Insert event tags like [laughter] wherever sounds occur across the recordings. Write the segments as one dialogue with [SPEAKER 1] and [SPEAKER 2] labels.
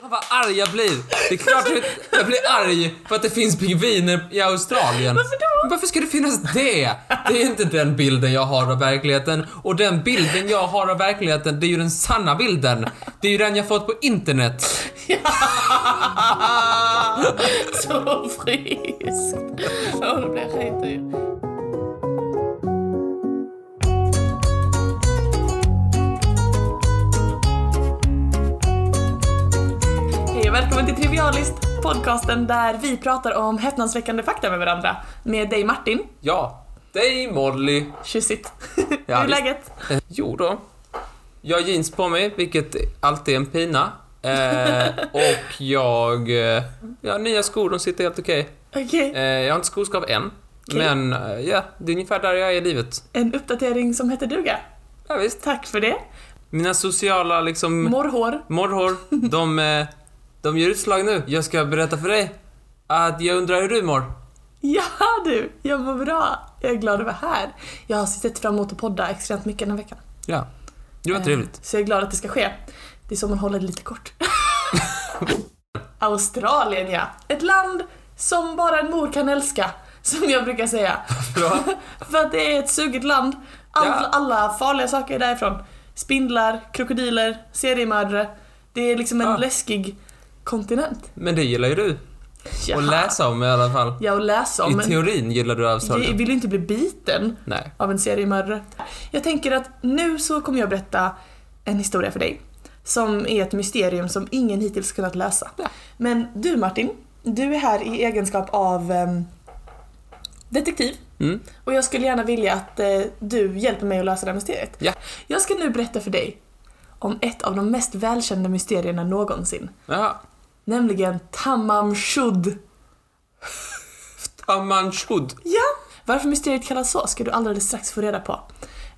[SPEAKER 1] Fan vad arg jag blir. Det är klart jag, jag blir arg för att det finns pingviner i Australien.
[SPEAKER 2] Varför då?
[SPEAKER 1] Men varför ska det finnas det? Det är inte den bilden jag har av verkligheten. Och den bilden jag har av verkligheten, det är ju den sanna bilden. Det är ju den jag fått på internet.
[SPEAKER 2] [laughs] Så friskt. Åh, det blir skitdyrt. Hej och välkommen till Trivialist, podcasten där vi pratar om häpnadsväckande fakta med varandra. Med dig Martin,
[SPEAKER 1] Ja, dig Molly.
[SPEAKER 2] tjusigt. [laughs]
[SPEAKER 1] Ja,
[SPEAKER 2] Hur är
[SPEAKER 1] visst.
[SPEAKER 2] läget?
[SPEAKER 1] Eh, Jo då. Jag har jeans på mig, vilket alltid är en pina. Eh, och jag... Eh, jag har nya skor, de sitter helt okej.
[SPEAKER 2] Okej,
[SPEAKER 1] Eh, jag har inte skoskav än.
[SPEAKER 2] Okej.
[SPEAKER 1] Men eh, ja, det är ungefär där jag är i livet.
[SPEAKER 2] en uppdatering som heter duga.
[SPEAKER 1] Ja, visst.
[SPEAKER 2] Tack för det.
[SPEAKER 1] Mina sociala liksom
[SPEAKER 2] Morrhår. [laughs]
[SPEAKER 1] morrhår, de, eh, de gör utslag nu. Jag ska berätta för dig att jag undrar hur du mår.
[SPEAKER 2] [laughs] Ja du, jag mår bra. Jag är glad att vara här. Jag har sett fram emot att podda extremt mycket den här veckan.
[SPEAKER 1] Ja. Det var
[SPEAKER 2] Eh,
[SPEAKER 1] trevligt.
[SPEAKER 2] Så jag är glad att det ska ske. Det är så man håller det lite kort. Australien ja. Ett land som bara en mor kan älska. Som jag
[SPEAKER 1] [laughs]
[SPEAKER 2] brukar säga.
[SPEAKER 1] [laughs] Bra.
[SPEAKER 2] För att det är ett sugigt land. All,
[SPEAKER 1] Ja.
[SPEAKER 2] Alla farliga saker är därifrån. Spindlar, krokodiler, seriemördare. Det är liksom en
[SPEAKER 1] Ja.
[SPEAKER 2] läskig kontinent.
[SPEAKER 1] Men det gillar ju du.
[SPEAKER 2] Ja.
[SPEAKER 1] Att läsa om i alla fall.
[SPEAKER 2] Ja, och läsa om.
[SPEAKER 1] I
[SPEAKER 2] men
[SPEAKER 1] teorin gillar du
[SPEAKER 2] jag
[SPEAKER 1] Australien.
[SPEAKER 2] vill ju inte bli biten
[SPEAKER 1] Nej.
[SPEAKER 2] av en seriemördare. Jag tänker att nu så kommer jag berätta en historia för dig. Som är ett mysterium som ingen hittills kunnat lösa.
[SPEAKER 1] Ja.
[SPEAKER 2] Men du Martin, du är här i egenskap av ehm, detektiv.
[SPEAKER 1] Mm.
[SPEAKER 2] Och jag skulle gärna vilja att eh, du hjälper mig att lösa det här mysteriet.
[SPEAKER 1] Ja.
[SPEAKER 2] Jag ska nu berätta för dig om ett av de mest välkända mysterierna någonsin.
[SPEAKER 1] Jaha.
[SPEAKER 2] Nämligen Tamam Shud.
[SPEAKER 1] Tamanchud.
[SPEAKER 2] Ja! Varför mysteriet kallas så ska du alldeles strax få reda på.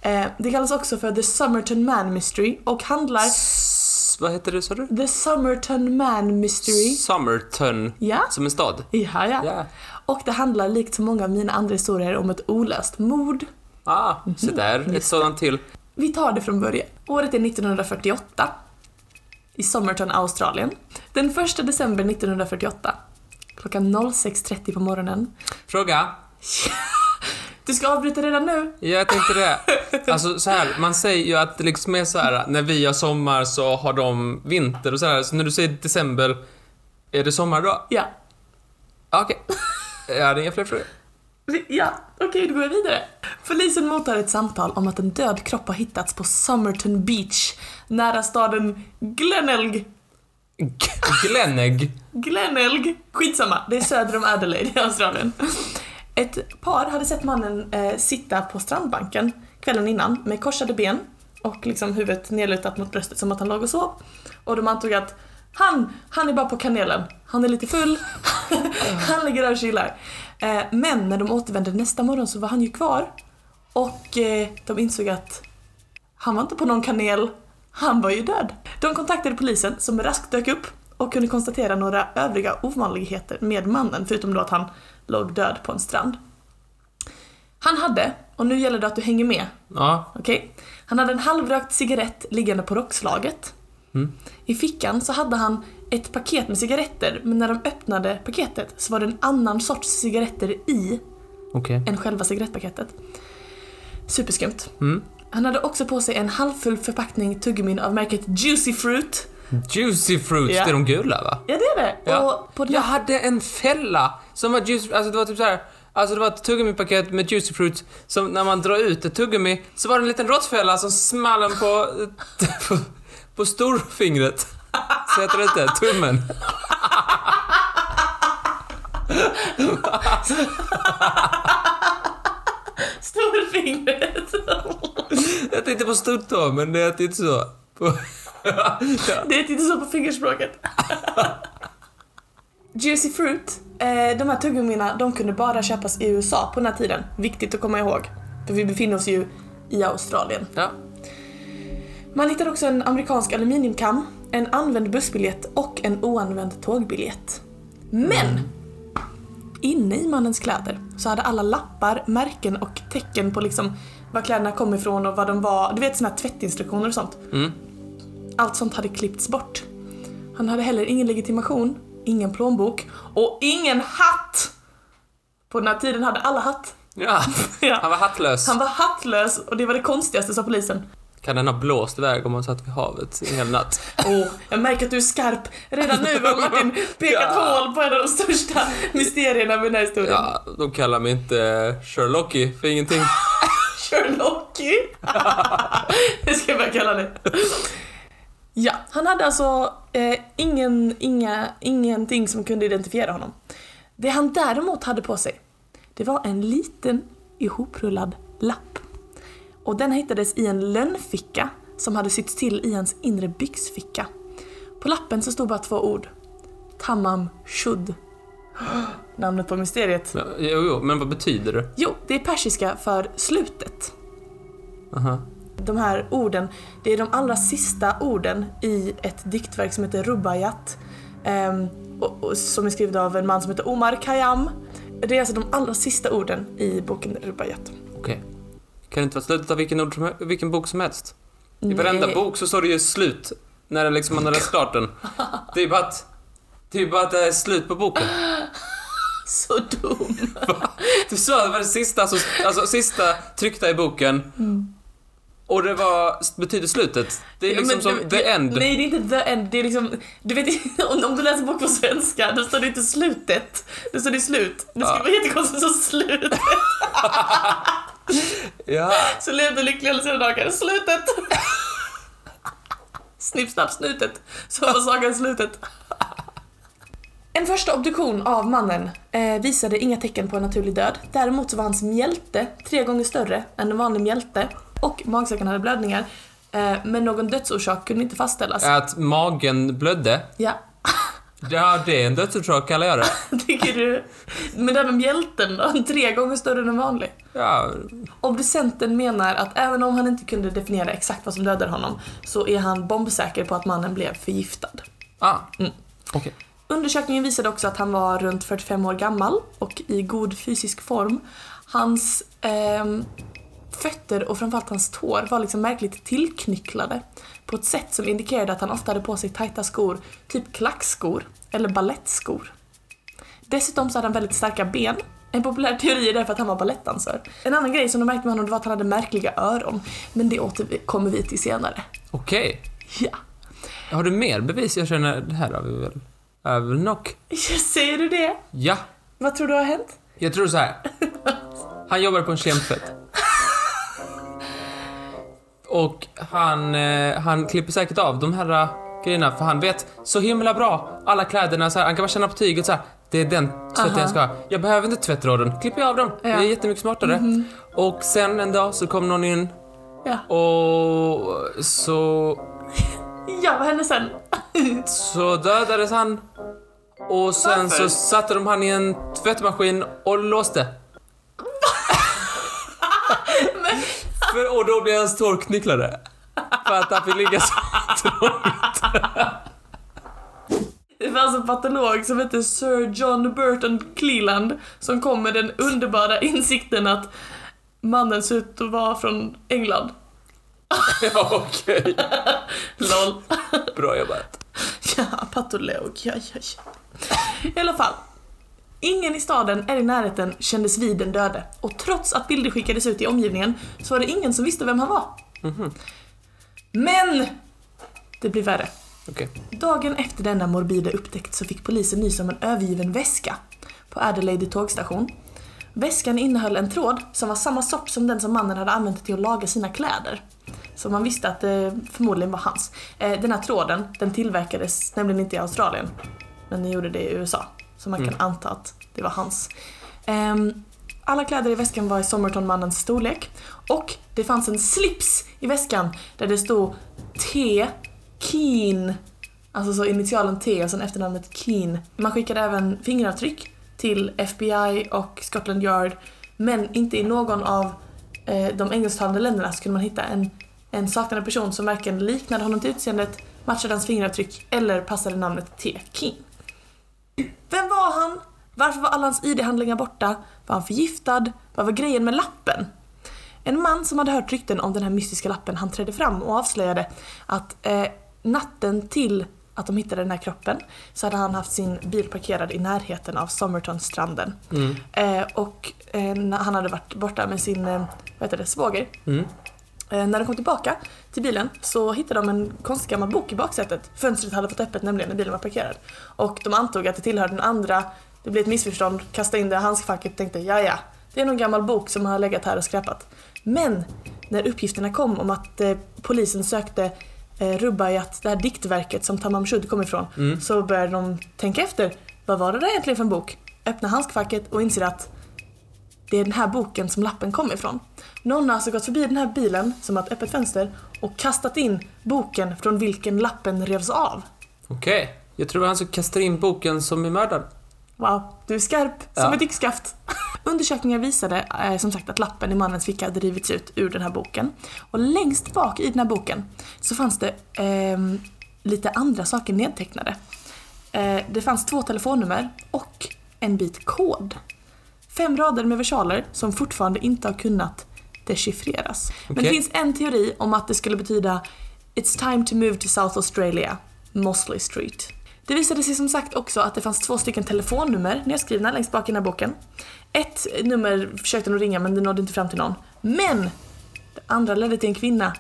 [SPEAKER 2] Eh, det kallas också för The Summerton Man Mystery och handlar...
[SPEAKER 1] S- Vad heter det sa du?
[SPEAKER 2] The Summerton Man Mystery.
[SPEAKER 1] Summerton.
[SPEAKER 2] Ja.
[SPEAKER 1] Som en stad?
[SPEAKER 2] Ja, ja.
[SPEAKER 1] Ja.
[SPEAKER 2] Och det handlar likt så många av mina andra historier om ett olöst mord.
[SPEAKER 1] Ah, se där. Ett sådant till.
[SPEAKER 2] Vi tar det från början. Året är 1948. I Somerton, Australien. Den 1 december 1948. Klockan 06.30 på morgonen.
[SPEAKER 1] Fråga.
[SPEAKER 2] Du ska avbryta redan nu?
[SPEAKER 1] Ja, jag tänkte det. Alltså så här, man säger ju att det liksom är så här när vi har sommar så har de vinter och så här. Så när du säger december, är det sommar då?
[SPEAKER 2] Ja.
[SPEAKER 1] Ja, Okej. Jag hade inga fler frågor.
[SPEAKER 2] Vi- Ja, okej, då går jag vidare. Polisen mottar ett samtal om att en död kropp har hittats på Somerton Beach, nära staden Glenelg.
[SPEAKER 1] G- Glenegg.
[SPEAKER 2] Glenelg. Skitsamma, det är söder om Adelaide i Australien. Ett par hade sett mannen eh, sitta på strandbanken kvällen innan med korsade ben och liksom huvudet nedlutat mot bröstet som att han låg och sov. Och de antog att han, han är bara på kanelen. Han är lite full. [laughs] han ligger där och chillar. Eh, men när de återvände nästa morgon så var han ju kvar. Och eh, de insåg att han var inte på någon kanel. Han var ju död. De kontaktade polisen som raskt dök upp och kunde konstatera några övriga ovanligheter med mannen förutom då att han låg död på en strand. Han hade, och nu gäller det att du hänger med,
[SPEAKER 1] Ja.
[SPEAKER 2] okej? Han hade en halvrökt cigarett liggande på rockslaget. I fickan så hade han ett paket med cigaretter men när de öppnade paketet så var det en annan sorts cigaretter i
[SPEAKER 1] Okej.
[SPEAKER 2] än själva cigarettpaketet. Superskumt.
[SPEAKER 1] Mm.
[SPEAKER 2] Han hade också på sig en halvfull förpackning tuggummin av märket Juicy Fruit.
[SPEAKER 1] Juicy fruits,
[SPEAKER 2] Ja.
[SPEAKER 1] det är de gula va?
[SPEAKER 2] Ja, det är det!
[SPEAKER 1] Ja.
[SPEAKER 2] Och på den
[SPEAKER 1] Jag hade en fälla som var juice, alltså det var typ så här. Alltså det var ett tuggummipaket med juicy fruit som när man drar ut ett tuggummi så var det en liten råttfälla som small en på, [laughs] på, på storfingret. Så heter det inte? Tummen.
[SPEAKER 2] storfingret!
[SPEAKER 1] Jag tänkte på stortå men det heter inte så. På,
[SPEAKER 2] Det är inte så på fingerspråket.
[SPEAKER 1] [laughs]
[SPEAKER 2] Juicy Fruit, eh, de här tuggummina, de kunde bara köpas i USA på den här tiden. Viktigt att komma ihåg. För vi befinner oss ju i Australien.
[SPEAKER 1] ja.
[SPEAKER 2] Man hittar också en amerikansk aluminiumkam, en använd bussbiljett och en oanvänd tågbiljett. Men! Inne i mannens kläder så hade alla lappar, märken och tecken på liksom var kläderna kom ifrån och vad de var. Du vet såna här tvättinstruktioner och sånt.
[SPEAKER 1] Mm.
[SPEAKER 2] Allt sånt hade klippts bort. Han hade heller ingen legitimation, ingen plånbok och ingen hatt! På den här tiden hade alla hatt.
[SPEAKER 1] Ja,
[SPEAKER 2] Ja.
[SPEAKER 1] han var hattlös.
[SPEAKER 2] Han var hattlös och det var det konstigaste sa polisen.
[SPEAKER 1] Kan den ha blåst iväg om han satt vid havet en hel natt?
[SPEAKER 2] Åh, jag märker att du är skarp. Redan nu har Martin pekat
[SPEAKER 1] Ja.
[SPEAKER 2] hål på en av de största mysterierna med den här historien.
[SPEAKER 1] Ja, de kallar mig inte Sherlocky för ingenting.
[SPEAKER 2] Sherlocky. det ska [laughs] jag börja kalla det. Ja, han hade alltså eh, ingen, inga, ingenting som kunde identifiera honom. Det han däremot hade på sig, det var en liten ihoprullad lapp. Och den hittades i en lönnficka som hade sytts till i hans inre byxficka. På lappen så stod bara två ord. Tamam Shud. [gasps] Namnet på mysteriet.
[SPEAKER 1] Men, jo, jo, men vad betyder det?
[SPEAKER 2] Jo, det är persiska för slutet.
[SPEAKER 1] Aha.
[SPEAKER 2] De här orden, det är de allra sista orden i ett diktverk som heter Rubaiyat. ehm, och, och, som är skrivet av en man som heter Omar Khayyam. Det är alltså de allra sista orden i boken Rubaiyat.
[SPEAKER 1] Okej. Kan det inte vara slutet av vilken, ord som, vilken bok som helst? I varenda
[SPEAKER 2] Nej.
[SPEAKER 1] bok så står det ju slut när den liksom man har läst klart den. Det är ju bara att det är ju bara att det är slut på boken.
[SPEAKER 2] Så dum!
[SPEAKER 1] Du sa det var det sista, som, alltså sista tryckta i boken och det var, betyder slutet. Det är
[SPEAKER 2] Mm. Ja,
[SPEAKER 1] liksom
[SPEAKER 2] men
[SPEAKER 1] som
[SPEAKER 2] det-
[SPEAKER 1] the end.
[SPEAKER 2] Nej, det är inte the end. Det är liksom, du vet, [laughs] om, om du läser en bok på svenska, då står det inte slutet. Då står det slut. Det skulle
[SPEAKER 1] Ja.
[SPEAKER 2] vara jättekonstigt som slut.
[SPEAKER 1] Ja.
[SPEAKER 2] Så levde lycklig alla sina dagar. Slutet! Snipp, snapp, snutet. Så var sagan slutet. En första obduktion av mannen eh, visade inga tecken på en naturlig död. Däremot så var hans mjälte tre gånger större än en vanlig mjälte och magsäcken hade blödningar. Eh, men någon dödsorsak kunde inte fastställas. Ja.
[SPEAKER 1] Att magen blödde. Ja, det är en dödsorsak kallar jag det.
[SPEAKER 2] [laughs] Tycker du? Men det här med mjälten då? Tre gånger större än en vanlig.
[SPEAKER 1] Ja,
[SPEAKER 2] Obducenten menar att även om han inte kunde definiera exakt vad som dödade honom så är han bombsäker på att mannen blev förgiftad.
[SPEAKER 1] ah.
[SPEAKER 2] Mm.
[SPEAKER 1] Okej.
[SPEAKER 2] Undersökningen visade också att han var runt 45 år gammal och i god fysisk form. Hans ehm, fötter och framförallt hans tår var liksom märkligt tillknycklade på ett sätt som indikerade att han ofta hade på sig tajta skor, typ klackskor eller ballettskor. Dessutom så hade han väldigt starka ben. En populär teori är därför att han var balettdansör. En annan grej som de märkte med honom det var att han hade märkliga öron, men det återkommer vi till senare.
[SPEAKER 1] Okej.
[SPEAKER 2] Ja. [laughs]
[SPEAKER 1] Har du mer bevis? Jag känner, det här har vi väl... Är väl nog.
[SPEAKER 2] Säger du det?
[SPEAKER 1] Ja.
[SPEAKER 2] Vad tror du har hänt?
[SPEAKER 1] Jag tror så här. Han jobbar på en kemtvätt. Och han, eh, han klipper säkert av de här eh, grejerna för han vet så himla bra alla kläderna så här, han kan bara känna på tyget så här. Det är den tvätten
[SPEAKER 2] Aha.
[SPEAKER 1] jag ska ha. Jag behöver inte tvättråden. Klipper jag av dem. Det
[SPEAKER 2] Ja.
[SPEAKER 1] är jättemycket smartare. Och sen en dag så kom någon in
[SPEAKER 2] Ja.
[SPEAKER 1] och så
[SPEAKER 2] Ja, vad hände sen? [laughs]
[SPEAKER 1] så dödades han. Och sen
[SPEAKER 2] Varför?
[SPEAKER 1] så satte de han i en tvättmaskin och låste.
[SPEAKER 2] Men,
[SPEAKER 1] För, och då blev hans tår knycklade. För att han fick ligga så trångt.
[SPEAKER 2] det fanns en patolog som hette Sir John Burton Cleland som kom med den underbara insikten att mannen ser ut att vara från England.
[SPEAKER 1] [laughs] Ja, okej.
[SPEAKER 2] LOL.
[SPEAKER 1] Bra jobbat.
[SPEAKER 2] [laughs] Ja, patolog. Ja, ja, ja. I alla fall. Ingen i staden eller i närheten kändes vid den döde och trots att bilder skickades ut i omgivningen så var det ingen som visste vem han var. Mhm. Men! Det blir värre.
[SPEAKER 1] Okej.
[SPEAKER 2] Dagen efter denna morbida upptäckt så fick polisen nys om en övergiven väska på Adelaide tågstation. Väskan innehöll en tråd som var samma sort som den som mannen hade använt till att laga sina kläder. Så man visste att det förmodligen var hans. Eh, Den här tråden, den tillverkades nämligen inte i Australien. Men den gjorde det i USA. Så man kan anta att det var hans. Ehm, Alla kläder i väskan var i Somerton-mannens storlek. Och det fanns en slips i väskan där det stod T. Keen Alltså så initialen T och sen efternamnet Keen. Man skickade även fingeravtryck till FBI och Scotland Yard men inte i någon av eh, de engelsktalande länderna så kunde man hitta en, en saknad person som varken liknade honom till utseendet, matchade hans fingeravtryck eller passade namnet T. Keen. Vem var han? Varför var alla hans ID-handlingar borta? Var han förgiftad? Vad var grejen med lappen? En man som hade hört rykten om den här mystiska lappen han trädde fram och avslöjade att eh, natten till att de hittade den här kroppen så hade han haft sin bil parkerad i närheten av Somertonstranden.
[SPEAKER 1] Mm.
[SPEAKER 2] Eh, och eh, när han hade varit borta med sin eh, vad heter det, svåger.
[SPEAKER 1] Mm.
[SPEAKER 2] Eh, när de kom tillbaka till bilen så hittade de en konstig gammal bok i baksätet. Fönstret hade fått öppet nämligen när bilen var parkerad. Och de antog att det tillhörde den andra. Det blev ett missförstånd, kastade in det i handskfacket och tänkte ja ja, det är någon gammal bok som har legat här och skräpat. Men när uppgifterna kom om att eh, polisen sökte eh, Rubaiyat, det här diktverket som Tamam Shud kom ifrån,
[SPEAKER 1] Mm.
[SPEAKER 2] så började de tänka efter. Vad var det där egentligen för en bok? Öppna handskfacket och inser att det är den här boken som lappen kom ifrån. Någon har alltså gått förbi den här bilen som har ett öppet fönster och kastat in boken från vilken lappen revs av.
[SPEAKER 1] Okej. Jag tror det var han som kastade in boken som är mördad.
[SPEAKER 2] Wow, du är skarp som
[SPEAKER 1] Ja.
[SPEAKER 2] ett yxskaft. [laughs] Undersökningar visade eh, som sagt att lappen i mannens ficka hade rivits ut ur den här boken. Och längst bak i den här boken så fanns det ehm, lite andra saker nedtecknade. Eh, det fanns två telefonnummer och en bit kod. Fem rader med versaler som fortfarande inte har kunnat dechiffreras. Men det
[SPEAKER 1] Okej.
[SPEAKER 2] finns en teori om att det skulle betyda It's time to move to South Australia, Mosley Street. Det visade sig som sagt också att det fanns två stycken telefonnummer nedskrivna längst bak i den här boken. Ett nummer försökte de ringa men det nådde inte fram till någon. Men! Det andra ledde till en kvinna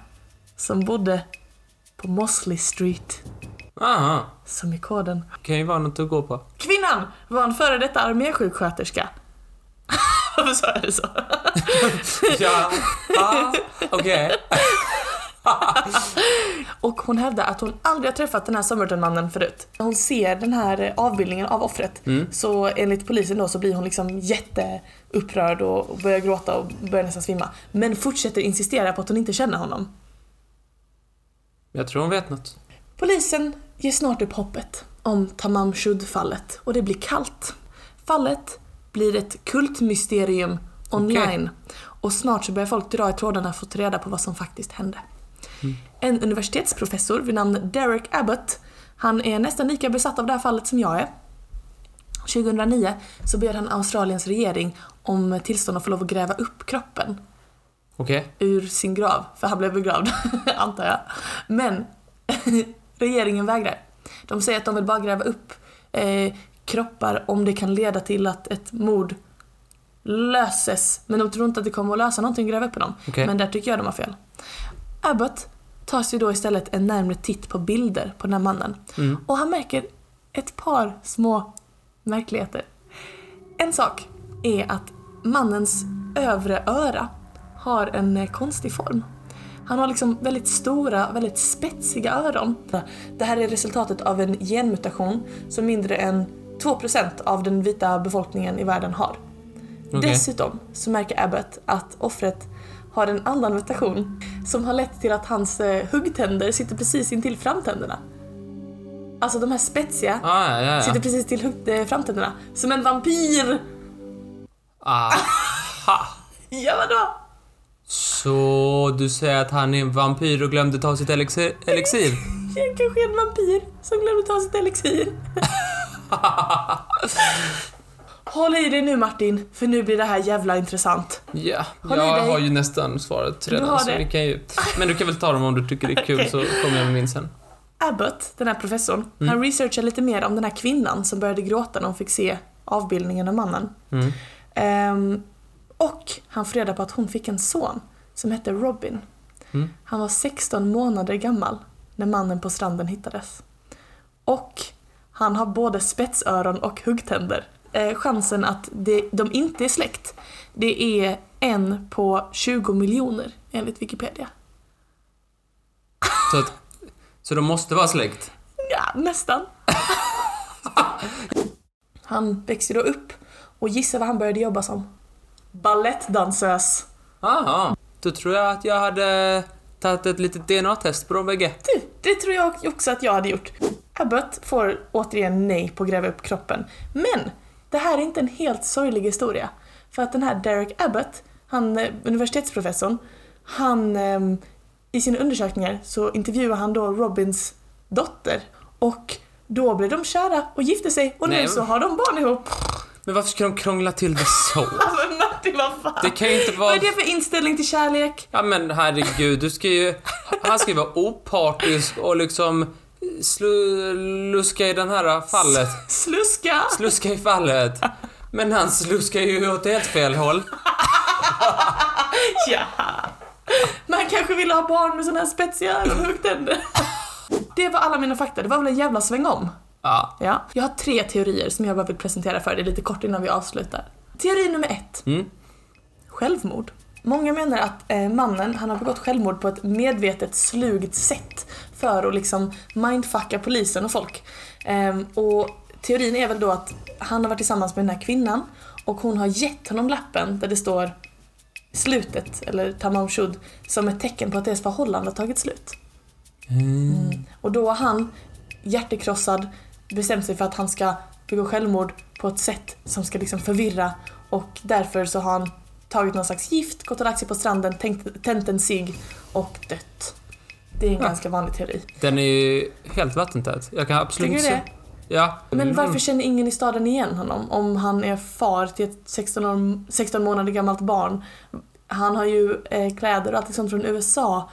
[SPEAKER 2] som bodde på Mosley Street,
[SPEAKER 1] Aha.
[SPEAKER 2] som är koden.
[SPEAKER 1] Kan ju vara något att gå på.
[SPEAKER 2] Kvinnan var en före detta armésjuksköterska. [laughs] Varför sa jag det så?
[SPEAKER 1] [laughs] Ja. Ah. Okej.
[SPEAKER 2] Och hon hävdar att hon aldrig har träffat den här Somerton-mannen förut. När hon ser den här eh, avbildningen av offret så enligt polisen då så blir hon liksom jätteupprörd och och börjar gråta och börjar nästan svimma. Men fortsätter insistera på att hon inte känner honom.
[SPEAKER 1] Jag tror hon vet något.
[SPEAKER 2] Polisen ger snart upp hoppet om Tamam Shud-fallet och det blir kallt. Fallet blir ett kultmysterium online och snart så börjar folk dra i trådarna för att ta reda på vad som faktiskt hände. En universitetsprofessor vid namn Derek Abbott, han är nästan lika besatt av det här fallet som jag är. 2009 så ber han Australiens regering om tillstånd att få lov att gräva upp kroppen
[SPEAKER 1] Okej.
[SPEAKER 2] ur sin grav, för han blev begravd, [laughs] antar jag. Men [laughs] regeringen vägrar. De säger att de vill bara gräva upp eh, kroppar om det kan leda till att ett mord löses. Men de tror inte att det kommer att lösa någonting att gräva upp dem.
[SPEAKER 1] Okej.
[SPEAKER 2] Men där tycker jag de har fel. Abbott tar sig då istället en närmare titt på bilder på den här mannen.
[SPEAKER 1] Mm.
[SPEAKER 2] Och han märker ett par små märkligheter. En sak är att mannens övre öra har en eh, konstig form. Han har liksom väldigt stora, väldigt spetsiga öron. Det här är resultatet av en genmutation som mindre än 2% av den vita befolkningen i världen har.
[SPEAKER 1] Okej.
[SPEAKER 2] Dessutom så märker Abbott att offret har en annan mutation som har lett till att hans eh, huggtänder sitter precis intill framtänderna. Alltså de här spetsiga
[SPEAKER 1] Ah, ja, ja,
[SPEAKER 2] sitter
[SPEAKER 1] ja.
[SPEAKER 2] precis till hugg- eh, framtänderna. Som en vampyr!
[SPEAKER 1] Ah.
[SPEAKER 2] Ja vadå?
[SPEAKER 1] Så du säger att han är en vampyr och glömde ta sitt elixir? elixir?
[SPEAKER 2] Jag kanske är en vampyr som glömde ta sitt elixir. Håll i dig nu Martin, för nu blir det här jävla intressant.
[SPEAKER 1] Ja,
[SPEAKER 2] Håll i
[SPEAKER 1] jag
[SPEAKER 2] dig.
[SPEAKER 1] har ju nästan svaret redan.
[SPEAKER 2] har
[SPEAKER 1] så
[SPEAKER 2] det.
[SPEAKER 1] vi kan ju... Men du kan väl ta dem om du tycker det är kul
[SPEAKER 2] [laughs] Okej.
[SPEAKER 1] så kommer jag med min sen.
[SPEAKER 2] Abbott, den här professorn, han researchar lite mer om den här kvinnan som började gråta när hon fick se avbildningen av mannen.
[SPEAKER 1] Mm.
[SPEAKER 2] Ehm, och han får reda på att hon fick en son som hette Robin.
[SPEAKER 1] Mm.
[SPEAKER 2] Han var 16 månader gammal när mannen på stranden hittades. Och han har både spetsöron och huggtänder. Eh, chansen att det, de inte är släkt, det är en på 20 miljoner enligt Wikipedia.
[SPEAKER 1] Så, att, så de måste vara släkt?
[SPEAKER 2] Ja, nästan. han växte då upp och gissa vad han började jobba som? Ballettdansös.
[SPEAKER 1] Aha. Då tror jag att jag hade tagit ett litet DNA-test på de bägge.
[SPEAKER 2] Du, det tror jag också att jag hade gjort. Abbott får återigen nej på att gräva upp kroppen. Men det här är inte en helt sorglig historia. För att den här Derek Abbott, han eh, universitetsprofessorn, han ehm, i sina undersökningar så intervjuar han då Robins dotter och då blev de kära och gifte sig och nu
[SPEAKER 1] Nej.
[SPEAKER 2] så har de barn ihop. [laughs]
[SPEAKER 1] Men varför ska de krångla till det så?
[SPEAKER 2] Alltså Martin, vad fan?
[SPEAKER 1] Det kan ju inte
[SPEAKER 2] [laughs] Vad
[SPEAKER 1] vara...
[SPEAKER 2] är det för inställning till kärlek? [laughs]
[SPEAKER 1] Ja men herregud, du ska ju... Han ska ju vara opartisk och liksom slu- luska i den här fallet.
[SPEAKER 2] Sluska!
[SPEAKER 1] Sluska i fallet. Men han sluskar ju åt helt fel håll.
[SPEAKER 2] Ja! Man kanske vill ha barn med såna här spetsiga huggtänder. Det var alla mina fakta, det var väl en jävla sväng om.
[SPEAKER 1] Ja.
[SPEAKER 2] Ja. Jag har tre teorier som jag bara vill presentera för dig lite kort innan vi avslutar. Teori nummer ett.
[SPEAKER 1] Mm.
[SPEAKER 2] Självmord. Många menar att eh, mannen, han har begått självmord på ett medvetet slugt sätt för att liksom mindfucka polisen och folk. Ehm, och teorin är väl då att han har varit tillsammans med den här kvinnan och hon har gett honom lappen där det står slutet, eller tamam shud, som ett tecken på att deras förhållande har tagit slut. Och då har han, hjärtekrossad, bestämt sig för att han ska begå självmord på ett sätt som ska liksom förvirra och därför så har han tagit någon slags gift, gått och lagt sig på stranden, tänkt, tänt en cigg och dött. Det är en
[SPEAKER 1] Ja.
[SPEAKER 2] ganska vanlig teori.
[SPEAKER 1] Den är ju helt vattentät. Jag kan absolut
[SPEAKER 2] Tycker du det?
[SPEAKER 1] inte se- Ja.
[SPEAKER 2] Men
[SPEAKER 1] Mm.
[SPEAKER 2] varför känner ingen i staden igen honom om han är far till ett 16, år, 16 månader gammalt barn? Han har ju eh, kläder och allt sånt från USA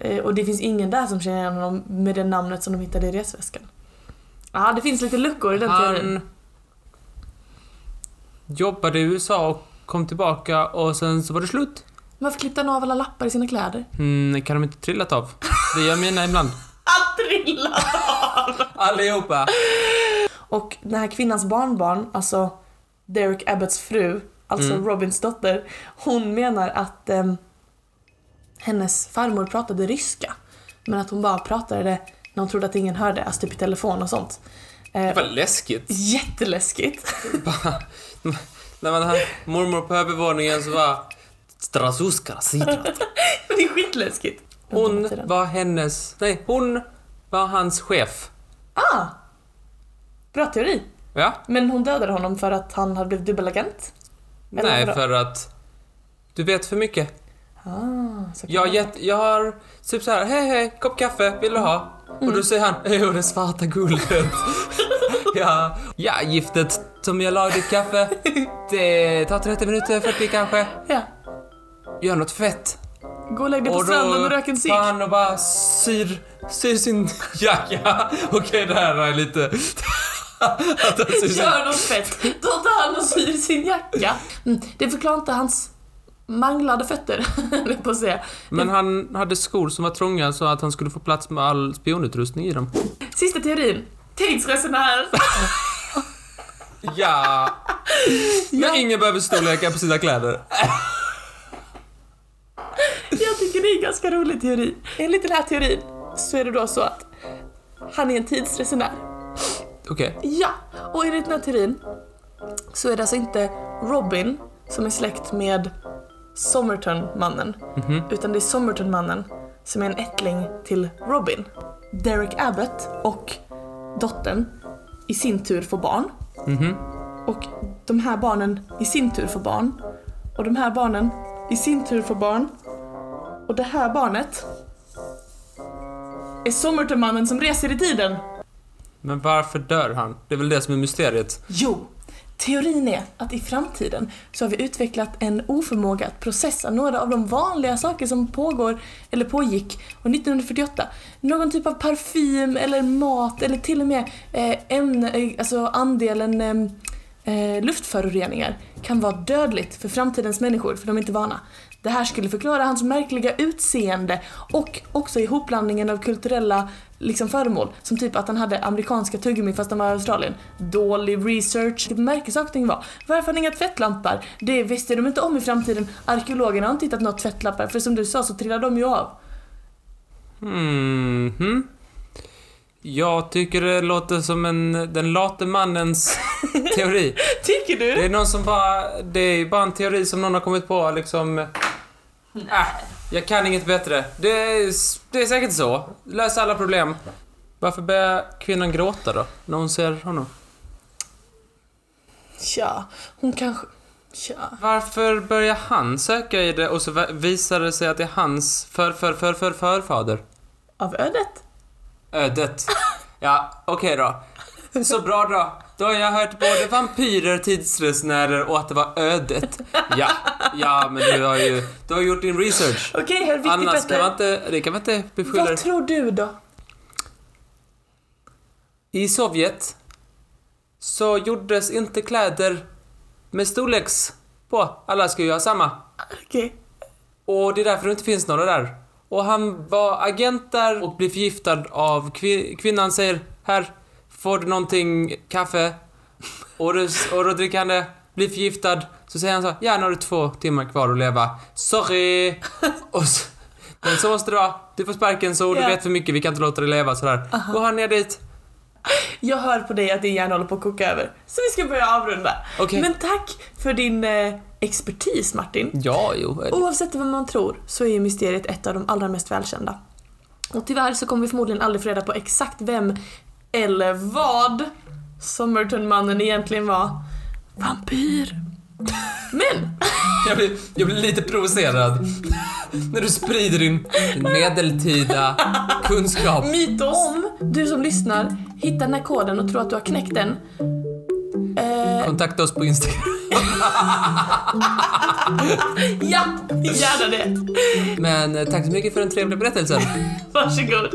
[SPEAKER 2] eh, och det finns ingen där som känner igen honom med det namnet som de hittade i resväskan. Ja, det finns lite luckor i den teorin.
[SPEAKER 1] Han jobbade i USA och kom tillbaka och sen så var det slut.
[SPEAKER 2] Varför klippte han av alla lappar i sina kläder?
[SPEAKER 1] Mm, kan de inte trillat av? Det gör mina ibland.
[SPEAKER 2] Han trillade!
[SPEAKER 1] Allihopa!
[SPEAKER 2] Och den här kvinnans barnbarn, alltså Derek Abbotts fru, alltså
[SPEAKER 1] Mm.
[SPEAKER 2] Robins dotter, hon menar att ehm, hennes farmor pratade ryska. Men att hon bara pratade det när hon trodde att ingen hörde, alltså typ i telefon och sånt. Eh,
[SPEAKER 1] var läskigt.
[SPEAKER 2] jätteläskigt. [laughs]
[SPEAKER 1] När man hade mormor på övervåningen så var Strasuska sidra.
[SPEAKER 2] det är skitläskigt.
[SPEAKER 1] Hon var hennes... Nej, hon var hans chef.
[SPEAKER 2] Ah! Bra teori.
[SPEAKER 1] Ja?
[SPEAKER 2] Men hon dödade honom för att han hade blivit dubbelagent? Eller
[SPEAKER 1] Nej,
[SPEAKER 2] vadå?
[SPEAKER 1] för att... Du vet för mycket.
[SPEAKER 2] Ah, så kan
[SPEAKER 1] Jag har
[SPEAKER 2] man-
[SPEAKER 1] gett, jag har typ så här, hej hej, kopp kaffe, vill du ha? Och
[SPEAKER 2] Mm.
[SPEAKER 1] då säger han, jo det svarta guldet. [laughs] ja, ja, giftet som jag la i ditt kaffe. Det tar 30 minuter, 40 kanske.
[SPEAKER 2] Ja.
[SPEAKER 1] Gör något fett.
[SPEAKER 2] Gå och lägg dig på
[SPEAKER 1] Och då
[SPEAKER 2] stranden och rök en cigg.
[SPEAKER 1] tar han och bara syr, syr sin [laughs] jacka. Okej, det här är lite... [laughs] att han syr sin...
[SPEAKER 2] Gör något fett. Då tar han och syr sin jacka. Mm, det förklarar inte hans manglade fötter, [laughs] höll jag på att säga.
[SPEAKER 1] Men han hade skor som var trånga så att han skulle få plats med all spionutrustning i dem.
[SPEAKER 2] Sista teorin. Tidsresenär. [laughs]
[SPEAKER 1] Ja.
[SPEAKER 2] Ja.
[SPEAKER 1] Men ingen behöver storlekar på sina kläder.
[SPEAKER 2] Jag tycker det är en ganska rolig teori. Enligt den här teorin så är det då så att han är en tidsresenär.
[SPEAKER 1] Okej.
[SPEAKER 2] Ja, och enligt den här teorin så är det alltså inte Robin som är släkt med Somerton-mannen. Utan det är Somerton-mannen som är en ättling till Robin. Derek Abbott och dottern i sin tur får barn.
[SPEAKER 1] mhm.
[SPEAKER 2] Och de här barnen i sin tur får barn. Och de här barnen i sin tur får barn. Och det här barnet är Somerton-mannen som reser i tiden.
[SPEAKER 1] Men varför dör han? Det är väl det som är mysteriet.
[SPEAKER 2] Jo, teorin är att i framtiden så har vi utvecklat en oförmåga att processa några av de vanliga saker som pågår eller pågick och 1948. Någon typ av parfym eller mat eller till och med eh, ämne, eh, alltså andelen ehm, eh, luftföroreningar kan vara dödligt för framtidens människor för de är inte vana. Det här skulle förklara hans märkliga utseende och också ihopblandningen av kulturella liksom, föremål. Som typ att han hade amerikanska tuggummi fast han var i Australien. Dålig research. Det märkesakting var. Varför har han inga tvättlampar? Det visste de inte om i framtiden. Arkeologerna har inte hittat några tvättlappar för som du sa så trillar de ju av.
[SPEAKER 1] Mhm. Jag tycker det låter som en, den late mannens teori.
[SPEAKER 2] [laughs] Tycker
[SPEAKER 1] Det
[SPEAKER 2] du?
[SPEAKER 1] är någon som bara... Det är bara en teori som någon har kommit på liksom... Äh, jag kan inget bättre. Det är, s- det är säkert så. Lös alla problem. Varför börjar kvinnan gråta då? När hon ser honom?
[SPEAKER 2] Tja, hon kanske... Tja.
[SPEAKER 1] Varför börjar han söka i det och så va- visar det sig att det är hans för, för, för, för, förfader?
[SPEAKER 2] Av ödet?
[SPEAKER 1] Ödet. Ja, okej då. Så bra då. Då har jag hört både vampyrer, tidsresenärer och att det var ödet. Ja, ja men du har ju du har gjort din research.
[SPEAKER 2] Okej, här är viktigt
[SPEAKER 1] Annars kan man
[SPEAKER 2] Petter.
[SPEAKER 1] inte, det kan man inte beskylla
[SPEAKER 2] Vad tror du då?
[SPEAKER 1] I Sovjet så gjordes inte kläder med storleks på. Alla ska ju ha samma.
[SPEAKER 2] Okej.
[SPEAKER 1] Och det är därför det inte finns några där. Och han var agent där och blev förgiftad av kvi- kvinnan säger här får du någonting kaffe och, du, och då dricker han det, blir förgiftad. Så säger han så här, ja nu har du två timmar kvar att leva. Sorry! Och så, men så måste det vara. Du får sparken så du
[SPEAKER 2] Ja.
[SPEAKER 1] vet för mycket, vi kan inte låta dig leva sådär. Går han ner dit.
[SPEAKER 2] Jag hör på dig att din hjärna håller på att koka över. Så vi ska börja avrunda.
[SPEAKER 1] Okej.
[SPEAKER 2] Men tack för din eh, expertis Martin.
[SPEAKER 1] Ja, jo.
[SPEAKER 2] Oavsett vad man tror så är ju mysteriet ett av de allra mest välkända. Och tyvärr så kommer vi förmodligen aldrig få reda på exakt vem eller vad Somertonmannen egentligen var. Vampyr. Men
[SPEAKER 1] [laughs] Jag blir, jag blir lite provocerad. När du sprider din medeltida kunskap.
[SPEAKER 2] Mytos. Om du som lyssnar hittar den här koden och tror att du har knäckt den. Eh,
[SPEAKER 1] Kontakta oss på Instagram.
[SPEAKER 2] ja, gärna det.
[SPEAKER 1] Men eh, tack så mycket för den trevliga berättelsen.
[SPEAKER 2] Varsågod. [laughs]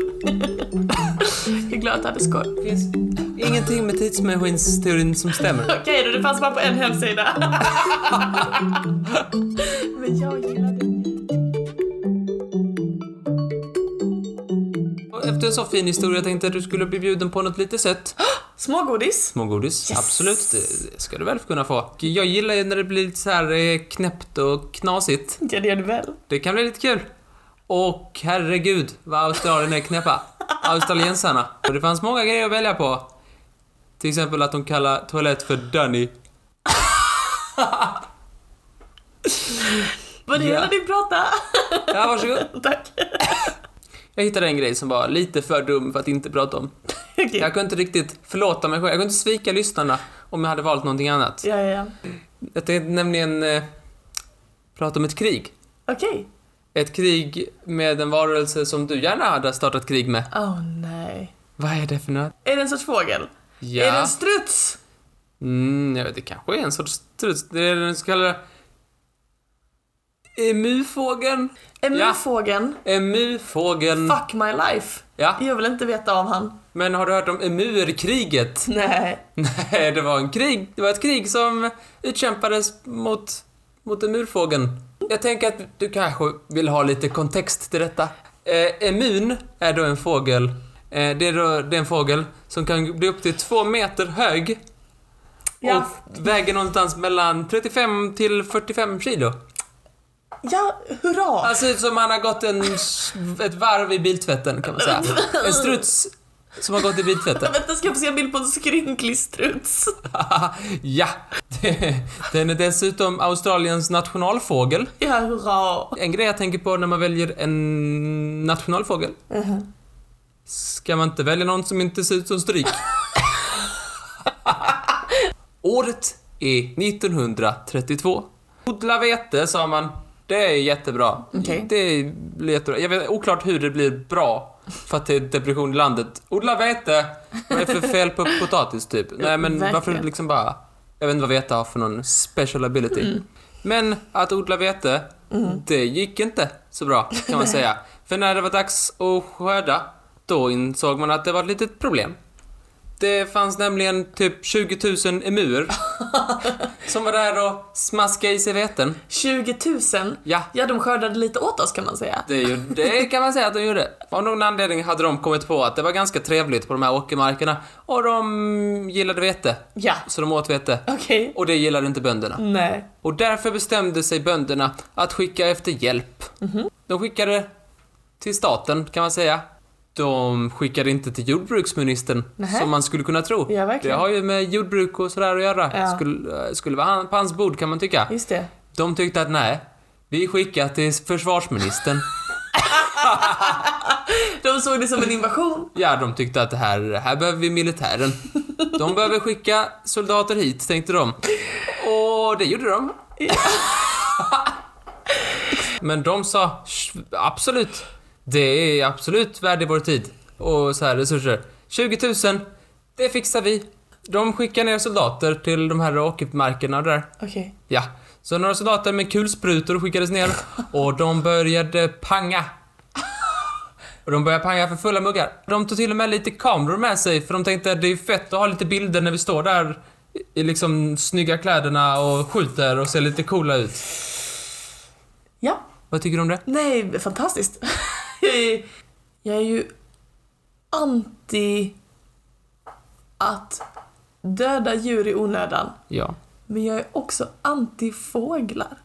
[SPEAKER 2] Jag är glad att du hade skoj.
[SPEAKER 1] Det finns [laughs] ingenting med tidsmaskinsteorin som stämmer.
[SPEAKER 2] Okej då, det fanns bara på en hemsida. [laughs] Men jag gillar det.
[SPEAKER 1] Och efter en så fin historia tänkte jag att du skulle bli bjuden på något lite sött.
[SPEAKER 2] Smågodis.
[SPEAKER 1] Smågodis,
[SPEAKER 2] Yes.
[SPEAKER 1] absolut. Det det ska du väl kunna få. Jag gillar ju när det blir lite så här eh, knäppt och knasigt.
[SPEAKER 2] Ja, det gör du väl.
[SPEAKER 1] Det kan bli lite kul. Och herregud vad Australien är knäppa. Australiensarna. Och det fanns många grejer att välja på. Till exempel att de kallar toalett för Dunny.
[SPEAKER 2] Var det
[SPEAKER 1] Ja.
[SPEAKER 2] hela din prata?
[SPEAKER 1] Ja, varsågod.
[SPEAKER 2] Tack.
[SPEAKER 1] Jag hittade en grej som var lite för dum för att inte prata om.
[SPEAKER 2] Okej.
[SPEAKER 1] [laughs] Jag kunde inte riktigt förlåta mig själv. Jag kunde inte svika lyssnarna om jag hade valt någonting annat.
[SPEAKER 2] Ja, ja, ja.
[SPEAKER 1] Jag tänkte nämligen eh, prata om ett krig.
[SPEAKER 2] Okej.
[SPEAKER 1] Ett krig med en varelse som du gärna hade startat krig med.
[SPEAKER 2] Åh oh, nej.
[SPEAKER 1] Vad är det för något?
[SPEAKER 2] Är det en sorts fågel? Är det
[SPEAKER 1] Ja.
[SPEAKER 2] en struts?
[SPEAKER 1] Mm, jag vet, det kanske är en sorts struts. Det är den så kallade... Emufågeln?
[SPEAKER 2] Emufågeln?
[SPEAKER 1] Emufågeln.
[SPEAKER 2] Fuck my life.
[SPEAKER 1] Ja.
[SPEAKER 2] Jag vill inte veta av han.
[SPEAKER 1] Men har du hört om emurkriget?
[SPEAKER 2] Nej.
[SPEAKER 1] [laughs] Nej, det var en krig. Det var ett krig som utkämpades mot, mot emurfågeln. Jag tänker att du kanske vill ha lite kontext till detta. Eh, emun är då en fågel. Eh, det, är då, det är en fågel som kan bli upp till två meter hög
[SPEAKER 2] Ja.
[SPEAKER 1] och väger någonstans mellan 35 till 45 kilo.
[SPEAKER 2] Ja, hurra!
[SPEAKER 1] Han ser ut som han har gått en, ett varv i biltvätten kan man säga. En struts som har gått i biltvätten.
[SPEAKER 2] Vänta, ska jag få se en bild på en skrynklig struts?
[SPEAKER 1] [laughs] ja! Den är dessutom Australiens nationalfågel.
[SPEAKER 2] Ja, hurra!
[SPEAKER 1] En grej jag tänker på när man väljer en nationalfågel. Ska man inte välja någon som inte ser ut som stryk? [laughs] Året är 1932. Odla vete, sa man. Det är jättebra.
[SPEAKER 2] Okej.
[SPEAKER 1] Det blir jättebra. Jag vet oklart hur det blir bra för att det är depression i landet. Odla vete! Vad är det för fel på potatis, typ? Nej, men
[SPEAKER 2] verkligen.
[SPEAKER 1] varför liksom bara... Jag vet inte vad vete har för någon special ability. Men att odla vete, det gick inte så bra kan man säga. För när det var dags att skörda, då insåg man att det var ett litet problem. Det fanns nämligen typ 20 000 emuer som var där och smaskade i sig veten.
[SPEAKER 2] 20 000?
[SPEAKER 1] Ja,
[SPEAKER 2] Ja, de skördade lite åt oss kan man säga.
[SPEAKER 1] det, är ju, det kan man säga att de gjorde. Av någon anledning hade de kommit på att det var ganska trevligt på de här åkermarkerna och de gillade vete.
[SPEAKER 2] Ja.
[SPEAKER 1] Så de åt vete.
[SPEAKER 2] Okej.
[SPEAKER 1] Och det gillade inte bönderna.
[SPEAKER 2] Nej.
[SPEAKER 1] Och därför bestämde sig bönderna att skicka efter hjälp.
[SPEAKER 2] Mhm.
[SPEAKER 1] De skickade till staten, kan man säga. De skickade inte till jordbruksministern,
[SPEAKER 2] Nähä.
[SPEAKER 1] som man skulle kunna tro.
[SPEAKER 2] Ja, verkligen.
[SPEAKER 1] Det har ju med jordbruk och sådär att göra.
[SPEAKER 2] Ja.
[SPEAKER 1] Skulle, skulle vara han- på hans bord, kan man tycka.
[SPEAKER 2] Just det.
[SPEAKER 1] De tyckte att nej, vi skickar till försvarsministern.
[SPEAKER 2] De såg det som en invasion.
[SPEAKER 1] Ja, de tyckte att det här, här behöver vi militären. De behöver skicka soldater hit, tänkte de. Och det gjorde de. Men de sa "Sh, absolut, det är absolut värd i vår tid och så här resurser. 20 000, det fixar vi. De skickar ner soldater till de här åkermarkerna där.
[SPEAKER 2] Okej.
[SPEAKER 1] Ja, så några soldater med kulsprutor skickades ner och de började panga. Och de började panga för fulla muggar. De tog till och med lite kameror med sig för de tänkte att det är fett att ha lite bilder när vi står där i- i liksom snygga kläderna och skjuter och ser lite coola ut.
[SPEAKER 2] Ja.
[SPEAKER 1] Vad tycker du om det?
[SPEAKER 2] Nej, fantastiskt. [laughs] jag, är, jag är ju anti att döda djur i onödan.
[SPEAKER 1] Ja.
[SPEAKER 2] Men jag är också anti fåglar.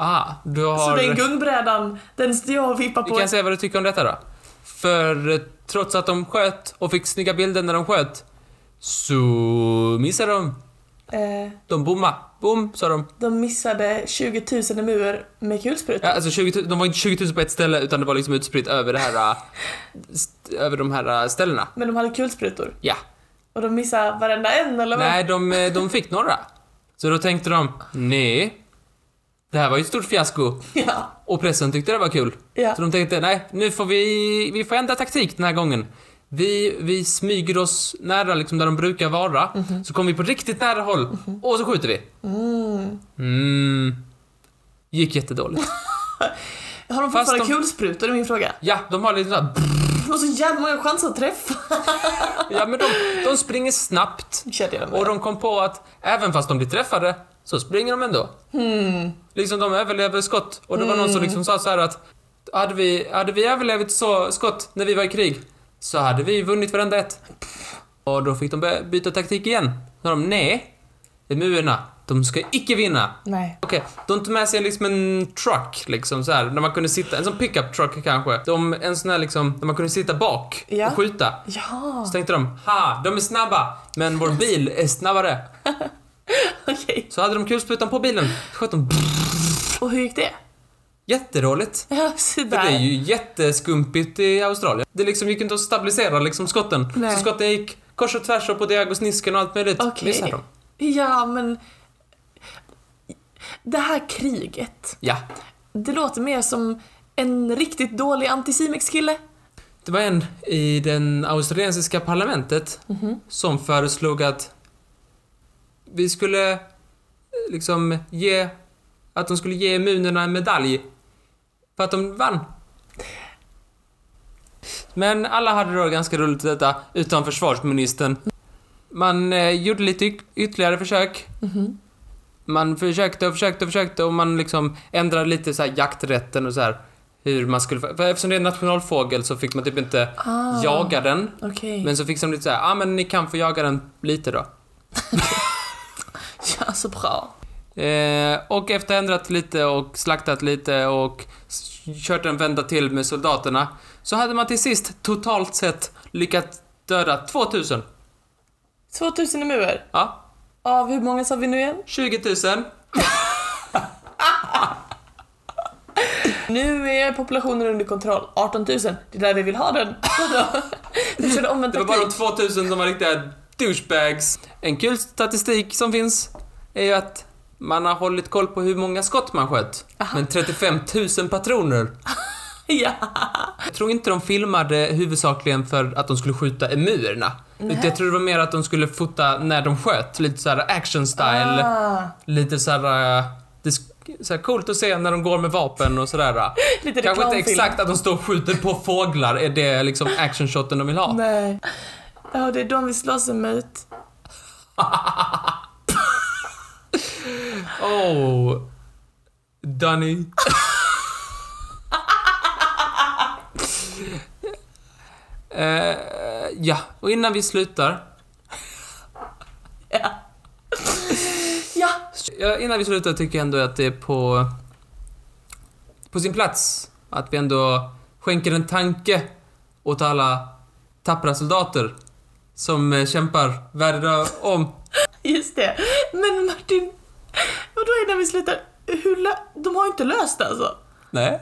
[SPEAKER 1] Ah, du har...
[SPEAKER 2] Så den gungbrädan, den står jag och vippar
[SPEAKER 1] Vi
[SPEAKER 2] på.
[SPEAKER 1] kan säga vad du tycker om detta då. För eh, trots att de sköt och fick snygga bilder när de sköt, så missade de.
[SPEAKER 2] Eh,
[SPEAKER 1] De bommade. Bom, sa de.
[SPEAKER 2] de missade 20 000 emuer med kulsprutor.
[SPEAKER 1] Ja, alltså 20 000, de var inte 20 000 på ett ställe, utan det var liksom utspritt över det här... eh, st- över de här eh, ställena.
[SPEAKER 2] Men de hade kulsprutor.
[SPEAKER 1] Ja.
[SPEAKER 2] Och de missade varenda en eller vad?
[SPEAKER 1] Nej, de, eh, de fick några. Så då tänkte de, nej. Det här var ju ett stort fiasko.
[SPEAKER 2] [laughs] Ja.
[SPEAKER 1] Och pressen tyckte det var kul.
[SPEAKER 2] Ja.
[SPEAKER 1] Så de tänkte, nej, nu får vi, vi får ändra taktik den här gången. Vi, vi smyger oss nära liksom där de brukar vara, så kommer vi på riktigt nära håll och så skjuter vi. Mm. Gick jättedåligt.
[SPEAKER 2] Har de
[SPEAKER 1] Fast
[SPEAKER 2] fortfarande
[SPEAKER 1] de-
[SPEAKER 2] kulsprutor? är min fråga.
[SPEAKER 1] Ja, de har lite såhär,
[SPEAKER 2] De har så jävla många chanser att träffa.
[SPEAKER 1] ja men de, de springer snabbt
[SPEAKER 2] [laughs] Kände jag med.
[SPEAKER 1] och de kom på att även fast de blir träffade så springer de ändå. Liksom de överlever skott och det var någon som liksom sa så här att hade vi, hade vi överlevt så skott när vi var i krig så hade vi vunnit varenda ett. Och då fick de börja byta taktik igen. Då de, nej, emuerna, de ska icke vinna.
[SPEAKER 2] Nej.
[SPEAKER 1] Okej, de tog med sig liksom en truck liksom så här, där man kunde sitta, en sån pickup truck kanske. De, en sån här liksom, där man kunde sitta bak
[SPEAKER 2] Ja.
[SPEAKER 1] och skjuta.
[SPEAKER 2] Ja,
[SPEAKER 1] Så tänkte de, ha, de är snabba, men vår bil är snabbare.
[SPEAKER 2] okej.
[SPEAKER 1] Så hade de kulsprutan på bilen, sköt de
[SPEAKER 2] Och hur gick det?
[SPEAKER 1] jätteroligt.
[SPEAKER 2] Ja, se
[SPEAKER 1] För
[SPEAKER 2] där.
[SPEAKER 1] det är ju jätteskumpigt i Australien. Det liksom gick inte att stabilisera liksom skotten.
[SPEAKER 2] Nej.
[SPEAKER 1] Så skotten gick kors och tvärs och på diagosnisken och allt möjligt.
[SPEAKER 2] Okej.
[SPEAKER 1] Missade de.
[SPEAKER 2] Ja, men... Det här kriget,
[SPEAKER 1] Ja.
[SPEAKER 2] det låter mer som en riktigt dålig antisimix-kille.
[SPEAKER 1] Det var en i den australiensiska parlamentet som föreslog att vi skulle eh, liksom ge, att de skulle ge immunerna en medalj för att de vann. Men alla hade då ganska roligt i detta, utan försvarsministern. Man eh, gjorde lite yt- ytterligare försök. Man försökte och försökte och försökte och man liksom ändrade lite så här jakträtten och så här hur man skulle... För eftersom det är en nationalfågel så fick man typ inte
[SPEAKER 2] Ah,
[SPEAKER 1] jaga den.
[SPEAKER 2] Okej.
[SPEAKER 1] Men så fick de lite så här, ah, men ni kan få jaga den lite då.
[SPEAKER 2] Ja, så bra.
[SPEAKER 1] Eh, och efter ändrat lite och slaktat lite och s- kört en vända till med soldaterna så hade man till sist totalt sett lyckats döda 2000.
[SPEAKER 2] 2000 emuer.
[SPEAKER 1] Ja,
[SPEAKER 2] Av hur många sa vi nu igen?
[SPEAKER 1] 20 000.
[SPEAKER 2] Nu är populationen under kontroll. 18 000. Det är där vi vill ha [laughs] den. Vi körde omvänd
[SPEAKER 1] Det var bara de
[SPEAKER 2] taktik.
[SPEAKER 1] 2000 som var riktiga douchebags. En kul statistik som finns är ju att man har hållit koll på hur många skott man sköt. Men 35 000 patroner.
[SPEAKER 2] Ja.
[SPEAKER 1] Jag tror inte de filmade huvudsakligen för att de skulle skjuta emuerna. Utan jag tror det var mer att de skulle fota när de sköt, lite såhär action style.
[SPEAKER 2] Ah,
[SPEAKER 1] Lite såhär... eh, Det är sk- såhär coolt att se när de går med vapen och
[SPEAKER 2] [laughs]
[SPEAKER 1] sådär.
[SPEAKER 2] lite
[SPEAKER 1] Kanske inte
[SPEAKER 2] reklamfilm.
[SPEAKER 1] exakt att de står och skjuter på fåglar, är det liksom actionshoten de vill ha?
[SPEAKER 2] Nej. Ja, det är de vi slåss emot.
[SPEAKER 1] Oh, Danny. [laughs] Eh, ja, och innan vi slutar
[SPEAKER 2] Ja. Ja.
[SPEAKER 1] Ja, innan vi slutar tycker jag ändå att det är på, på sin plats att vi ändå skänker en tanke åt alla tappra soldater som eh, kämpar världen om.
[SPEAKER 2] Just det. Men Martin, vadå innan vi slutar? Hur lö- de har ju inte löst det alltså?
[SPEAKER 1] Nej.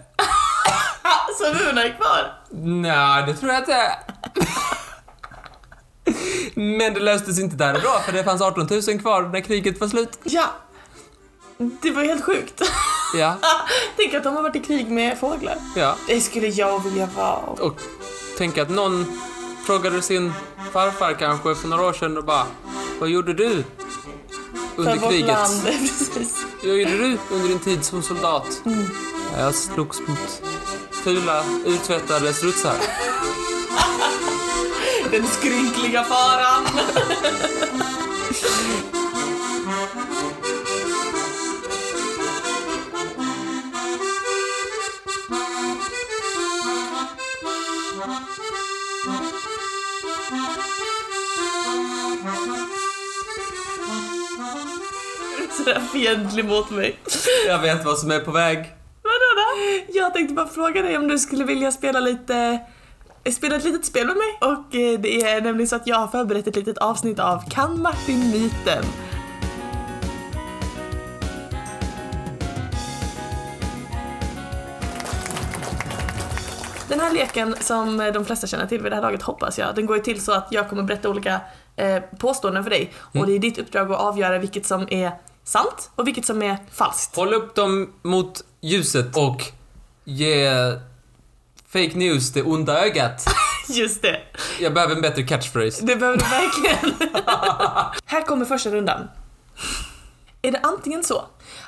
[SPEAKER 2] Ah, Så muren är kvar?
[SPEAKER 1] Nej, det tror jag inte. Men det löstes inte där och då, för det fanns 18 000 kvar när kriget var slut.
[SPEAKER 2] Ja. Det var helt sjukt. [laughs]
[SPEAKER 1] Ja,
[SPEAKER 2] Tänk att de har varit i krig med fåglar.
[SPEAKER 1] ja.
[SPEAKER 2] Det skulle jag vilja vara.
[SPEAKER 1] Och tänk att någon frågade sin farfar kanske för några år sedan och bara Vad gjorde du under
[SPEAKER 2] För vårt
[SPEAKER 1] kriget?
[SPEAKER 2] land. [laughs] Precis. Mm.
[SPEAKER 1] Vad gjorde du under din tid som soldat? Jag slogs mot fula, urtvättade strutsar.
[SPEAKER 2] Den skrynkliga faran. Är du Sådär fientlig mot mig.
[SPEAKER 1] Jag vet vad som är på väg.
[SPEAKER 2] Vadå då? Jag tänkte bara fråga dig om du skulle vilja spela lite eh, spela ett litet spel med mig. Och eh, det är nämligen så att jag har förberett ett litet avsnitt av Kan Martin myten? Den här leken som eh, de flesta känner till vid det här laget hoppas jag, den går ju till så att jag kommer berätta olika eh, påståenden för dig och det är ditt uppdrag att avgöra vilket som är sant och vilket som är falskt. [laughs]
[SPEAKER 1] Håll upp dem mot ljuset och ge fake news det onda ögat.
[SPEAKER 2] Just det.
[SPEAKER 1] Jag behöver en bättre catchphrase.
[SPEAKER 2] Det behöver du verkligen. [laughs] Här kommer första rundan. Är det antingen så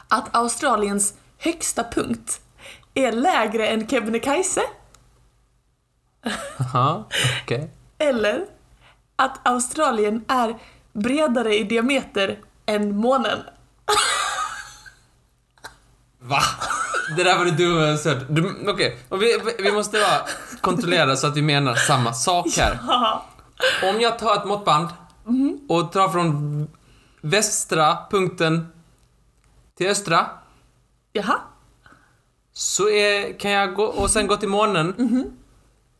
[SPEAKER 2] att Australiens högsta punkt är lägre än Kebnekaise
[SPEAKER 1] Jaha, okej.
[SPEAKER 2] eller att Australien är bredare i diameter än månen?
[SPEAKER 1] Va? Det där var det dummaste jag hört. Du- Okej, och vi, vi måste bara kontrollera så att vi menar samma sak här.
[SPEAKER 2] Haha.
[SPEAKER 1] Om jag tar ett måttband och tar från västra punkten till östra
[SPEAKER 2] Jaha?
[SPEAKER 1] så är, kan jag gå och sen gå till månen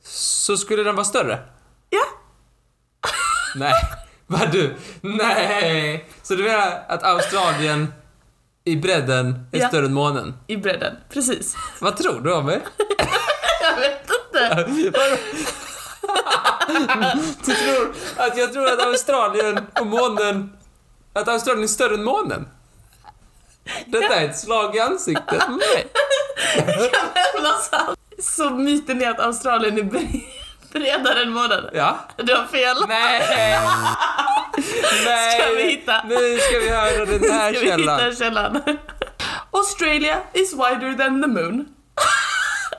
[SPEAKER 1] så skulle den vara större.
[SPEAKER 2] Ja?
[SPEAKER 1] Nej, vad du? Nej! Så du menar att Australien i bredden är
[SPEAKER 2] Ja.
[SPEAKER 1] större än månen?
[SPEAKER 2] I bredden. Precis. [laughs]
[SPEAKER 1] Vad tror du om mig?
[SPEAKER 2] Jag vet inte.
[SPEAKER 1] du tror att jag tror att Australien och månen... Att Australien är större än månen? Detta är ett slag i ansiktet på mig.
[SPEAKER 2] Vad sant? alltså, Så myten är att Australien är bre- [laughs] bredare än månen?
[SPEAKER 1] Ja.
[SPEAKER 2] Du har fel.
[SPEAKER 1] Nej! Nej!
[SPEAKER 2] Ska vi hitta-
[SPEAKER 1] Nu ska vi höra den här
[SPEAKER 2] Ska vi
[SPEAKER 1] källan.
[SPEAKER 2] hitta källan? [laughs] Australia is wider than the moon. [laughs]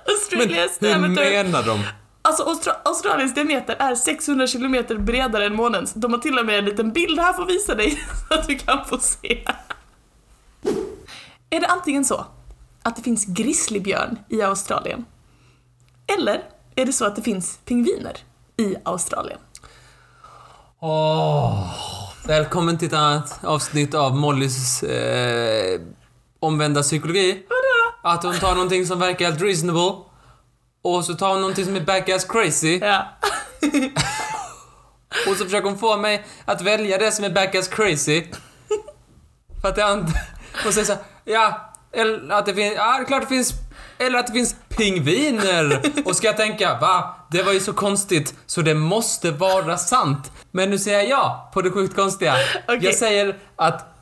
[SPEAKER 2] Australias
[SPEAKER 1] Hur
[SPEAKER 2] diameter,
[SPEAKER 1] menar de?
[SPEAKER 2] alltså Austra- Australiens diameter är 600 kilometer bredare än månens. De har till och med en liten bild här för att visa dig [laughs] så att du kan få se. Är det antingen så att det finns grizzlybjörn i Australien? Eller är det så att det finns pingviner i Australien?
[SPEAKER 1] Åh, välkommen till ett annat avsnitt av Mollys eh, omvända psykologi. Att hon tar någonting som verkar helt reasonable och så tar hon någonting som är backass crazy
[SPEAKER 2] Ja. [laughs]
[SPEAKER 1] och så försöker hon få mig att välja det som är backass crazy. För att jag inte... [laughs] Och säger så här, ja, eller att det finns... Ja, det är klart det finns... Eller att det finns pingviner! Och ska jag tänka, va? Det var ju så konstigt, så det måste vara sant. Men nu säger jag ja på det sjukt konstiga.
[SPEAKER 2] Okej.
[SPEAKER 1] Jag säger att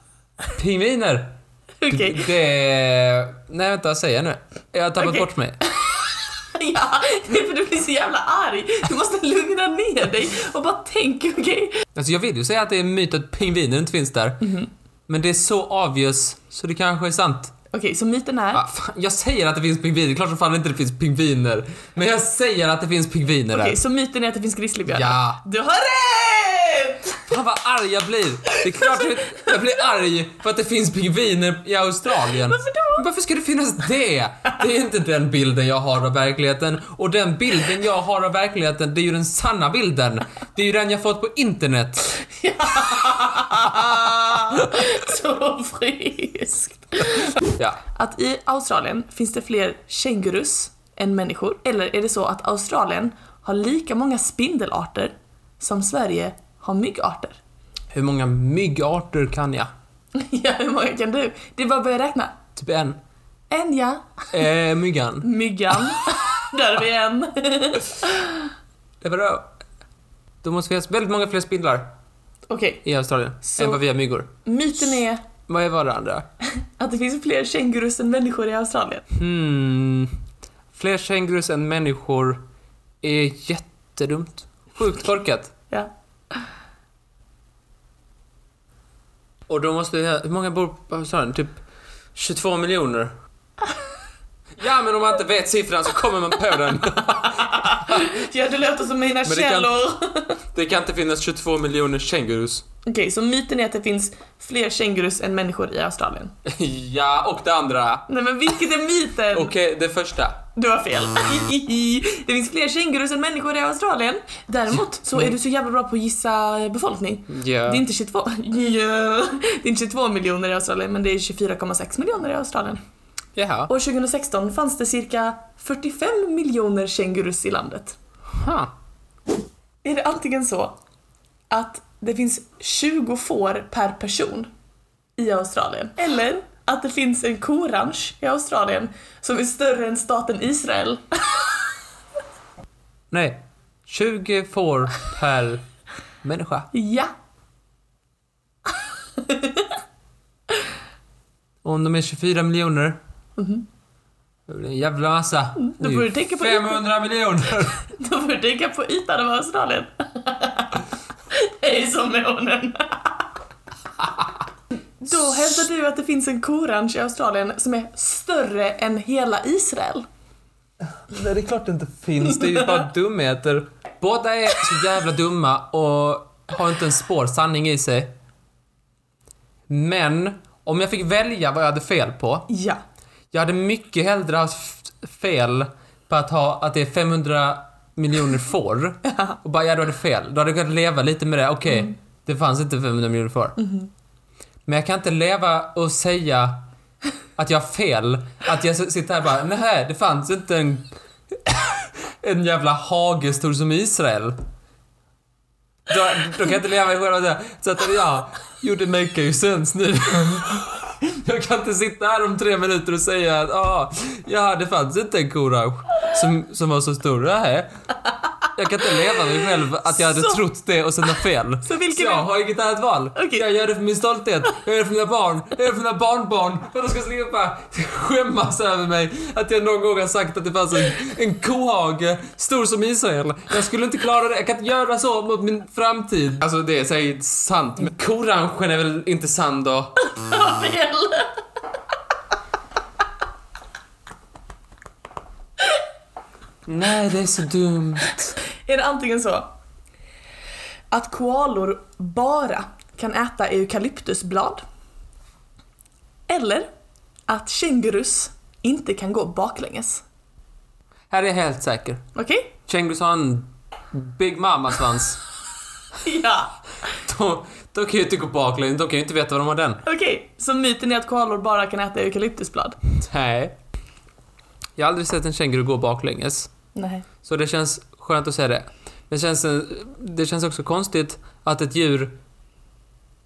[SPEAKER 1] pingviner,
[SPEAKER 2] Okej.
[SPEAKER 1] det... Nej, vänta, säger jag nu? Jag har tappat
[SPEAKER 2] Okej.
[SPEAKER 1] bort mig.
[SPEAKER 2] [laughs] Ja, det är för du blir så jävla arg. Du måste lugna ner dig och bara tänka, okej?
[SPEAKER 1] Alltså jag vill ju säga att det är en myt att pingviner inte finns där.
[SPEAKER 2] Mhm.
[SPEAKER 1] Men det är så obvious, så det kanske är sant.
[SPEAKER 2] Okej, så myten är...
[SPEAKER 1] Ah, fan, jag säger att det finns pingviner, klart som fan inte det finns pingviner. Men jag säger att det finns pingviner
[SPEAKER 2] Okej,
[SPEAKER 1] där.
[SPEAKER 2] så myten är att det finns grizzlybjörnar?
[SPEAKER 1] Ja.
[SPEAKER 2] Du har rätt! [laughs]
[SPEAKER 1] Fan vad arg jag blir. Det är klart
[SPEAKER 2] Alltså-
[SPEAKER 1] jag, jag blir arg för att det finns pingviner i Australien.
[SPEAKER 2] Varför då?
[SPEAKER 1] Varför ska det finnas det? Det är inte den bilden jag har av verkligheten. Och den bilden jag har av verkligheten, det är ju den sanna bilden. Det är ju den jag fått på internet.
[SPEAKER 2] så friskt.
[SPEAKER 1] Ja.
[SPEAKER 2] Att i Australien finns det fler kängurus än människor? Eller är det så att Australien har lika många spindelarter som Sverige har myggarter? [laughs]
[SPEAKER 1] Hur många myggarter kan jag?
[SPEAKER 2] ja, hur många kan du? Det är bara att börja räkna.
[SPEAKER 1] Typ en.
[SPEAKER 2] En ja,
[SPEAKER 1] Eh, myggan.
[SPEAKER 2] myggan. [laughs] Där har vi en. [laughs]
[SPEAKER 1] Det var då. Då måste finnas väldigt många fler spindlar
[SPEAKER 2] Okej,
[SPEAKER 1] i Australien
[SPEAKER 2] Så-
[SPEAKER 1] än vad vi har myggor.
[SPEAKER 2] myten är
[SPEAKER 1] Vad är varandra?
[SPEAKER 2] Att det finns fler kängurus än människor i Australien.
[SPEAKER 1] Hmm. Fler kängurus än människor är jättedumt. Sjukt korkat.
[SPEAKER 2] Ja.
[SPEAKER 1] Och då måste vi... Hur många bor på Australien? Typ 22 miljoner? Ja, men om man inte vet siffran så kommer man på den.
[SPEAKER 2] Ja, det låter som mina
[SPEAKER 1] Men det kan-
[SPEAKER 2] källor.
[SPEAKER 1] Det kan inte finnas 22 miljoner kängurus. [laughs]
[SPEAKER 2] Okej, så myten är att det finns fler kängurus än människor i Australien.
[SPEAKER 1] Ja, och det andra.
[SPEAKER 2] Nej men vilket är myten?
[SPEAKER 1] Okej, det första.
[SPEAKER 2] Du har fel. [laughs] det finns fler kängurus än människor i Australien. Däremot så är du så jävla bra på att gissa befolkning.
[SPEAKER 1] Ja.
[SPEAKER 2] Det är inte 22, [laughs] Ja. det är inte 22 miljoner i Australien men det är 24,6 miljoner i Australien.
[SPEAKER 1] Jaha.
[SPEAKER 2] År 2016 fanns det cirka 45 miljoner kängurus i landet.
[SPEAKER 1] Ha.
[SPEAKER 2] Är det antingen så att det finns 20 får per person i Australien eller att det finns en koranch i Australien som är större än staten Israel.
[SPEAKER 1] Nej. 20 får per människa.
[SPEAKER 2] Ja,
[SPEAKER 1] Och om de är 24 miljoner. Mhm. Då blir det en jävla massa. Det är
[SPEAKER 2] får
[SPEAKER 1] ju
[SPEAKER 2] du tänka på
[SPEAKER 1] 500 miljoner.
[SPEAKER 2] då får du tänka på ytan av Australien. [laughs] Hej som månen. Då hävdar du att det finns en koranch i Australien som är större än hela Israel.
[SPEAKER 1] Nej, [laughs] det är klart det inte finns. Det är ju [laughs] bara dumheter. Båda är så jävla dumma och har inte en spår sanning i sig. Men, om jag fick välja vad jag hade fel på.
[SPEAKER 2] Ja.
[SPEAKER 1] Jag hade mycket hellre haft fel på att, ha, att det är 500 miljoner får. Och bara, ja du hade fel. Då hade jag kunnat leva lite med det. Okej, det fanns inte 500 miljoner får. Men jag kan inte leva och säga att jag har fel. Att jag s- sitter här och bara, nej det fanns inte en, en jävla hage stor som Israel. Då, då kan jag inte leva i själva det. Så att, ja, jo det make ju sense nu. Jag kan inte sitta här om tre minuter och säga att ah, ja, det fanns inte en korange som, som var så stor. Nej. Jag kan inte leva med mig själv att jag hade
[SPEAKER 2] Så-
[SPEAKER 1] trott det och sen ha fel.
[SPEAKER 2] Så vilken
[SPEAKER 1] jag
[SPEAKER 2] är-
[SPEAKER 1] har inget annat val.
[SPEAKER 2] Okej.
[SPEAKER 1] Jag gör det för min stolthet, jag gör det för mina barn, jag gör det för mina barnbarn. För att de ska slippa skämmas över mig att jag någon gång har sagt att det fanns en, en kohage stor som Israel. Jag skulle inte klara det, jag kan inte göra så mot min framtid. Alltså det är säkert sant, men korangen är väl inte sann då?
[SPEAKER 2] Ja, fel.
[SPEAKER 1] Nej, det är så dumt.
[SPEAKER 2] Är det antingen så att koalor bara kan äta eukalyptusblad eller att kängurus inte kan gå baklänges.
[SPEAKER 1] Här är jag helt säker.
[SPEAKER 2] Okej?
[SPEAKER 1] Kängurus har en Big Mama-svans.
[SPEAKER 2] [laughs] Ja.
[SPEAKER 1] De, de kan ju inte gå baklänges, de kan ju inte veta var de har den.
[SPEAKER 2] Okej, så myten är att koalor bara kan äta eukalyptusblad?
[SPEAKER 1] Nej. Jag har aldrig sett en känguru gå baklänges.
[SPEAKER 2] Nej.
[SPEAKER 1] Så det känns skönt att säga det. Men känns, eh, det känns också konstigt att ett djur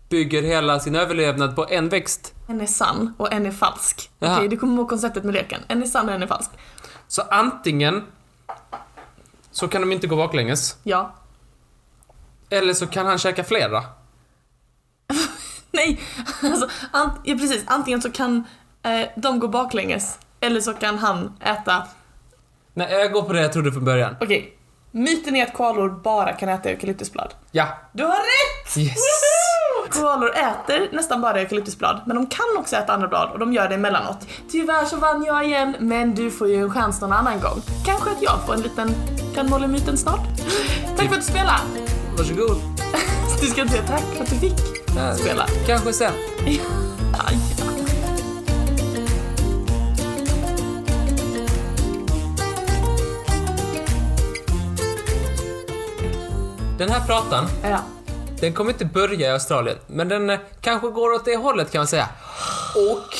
[SPEAKER 1] bygger hela sin överlevnad på en växt.
[SPEAKER 2] En är sann och en är falsk. Okej,
[SPEAKER 1] Jaha.
[SPEAKER 2] du kommer ihåg konceptet med leken. En är sann och en är falsk.
[SPEAKER 1] Så antingen så kan de inte gå baklänges,
[SPEAKER 2] Ja. [laughs]
[SPEAKER 1] eller så kan han käka flera.
[SPEAKER 2] Nej! Alltså, an- ja, precis. Antingen så kan eh, de gå baklänges eller så kan han äta
[SPEAKER 1] Nej, jag går på det jag trodde från början.
[SPEAKER 2] Okej, myten är att koalor bara kan äta eukalyptusblad.
[SPEAKER 1] Ja.
[SPEAKER 2] Du har rätt!
[SPEAKER 1] Yes.
[SPEAKER 2] Woho! Koalor äter nästan bara eukalyptusblad, men de kan också äta andra blad och de gör det emellanåt. Tyvärr så vann jag igen, men du får ju en chans någon annan gång. Kanske att jag får en liten kanmålemyten snart. Tack för att du spelade! [laughs]
[SPEAKER 1] Varsågod.
[SPEAKER 2] Du ska inte säga tack för att du fick spela.
[SPEAKER 1] Kanske sen.
[SPEAKER 2] Aj.
[SPEAKER 1] Den här pratan,
[SPEAKER 2] Ja.
[SPEAKER 1] den kommer inte börja i Australien, men den eh, kanske går åt det hållet kan man säga. Och...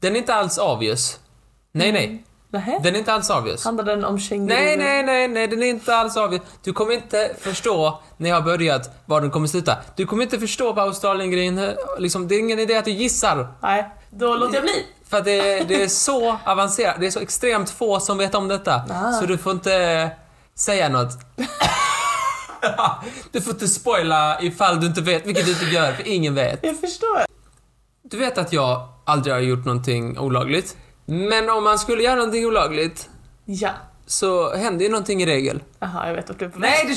[SPEAKER 1] Den är inte alls obvious. Nej, nej.
[SPEAKER 2] Nähä?
[SPEAKER 1] Den är inte alls obvious.
[SPEAKER 2] Handlar den om kängurur?
[SPEAKER 1] Nej, nej, nej, nej, den är inte alls obvious. Du kommer inte förstå när jag har börjat var den kommer sluta. Du kommer inte förstå vad Australien-grejen, eh, liksom, det är ingen idé att du gissar.
[SPEAKER 2] Nej, då låter jag bli.
[SPEAKER 1] För att det, det är så avancerat, det är så extremt få som vet om detta.
[SPEAKER 2] Ah.
[SPEAKER 1] Så du får inte säga något. du får inte spoila ifall du inte vet, vilket du inte gör, för ingen vet.
[SPEAKER 2] Jag förstår.
[SPEAKER 1] Du vet att jag aldrig har gjort någonting olagligt. Men om man skulle göra någonting olagligt
[SPEAKER 2] Ja.
[SPEAKER 1] så händer ju någonting i regel.
[SPEAKER 2] Jaha, jag vet att du är på väg.
[SPEAKER 1] Nej,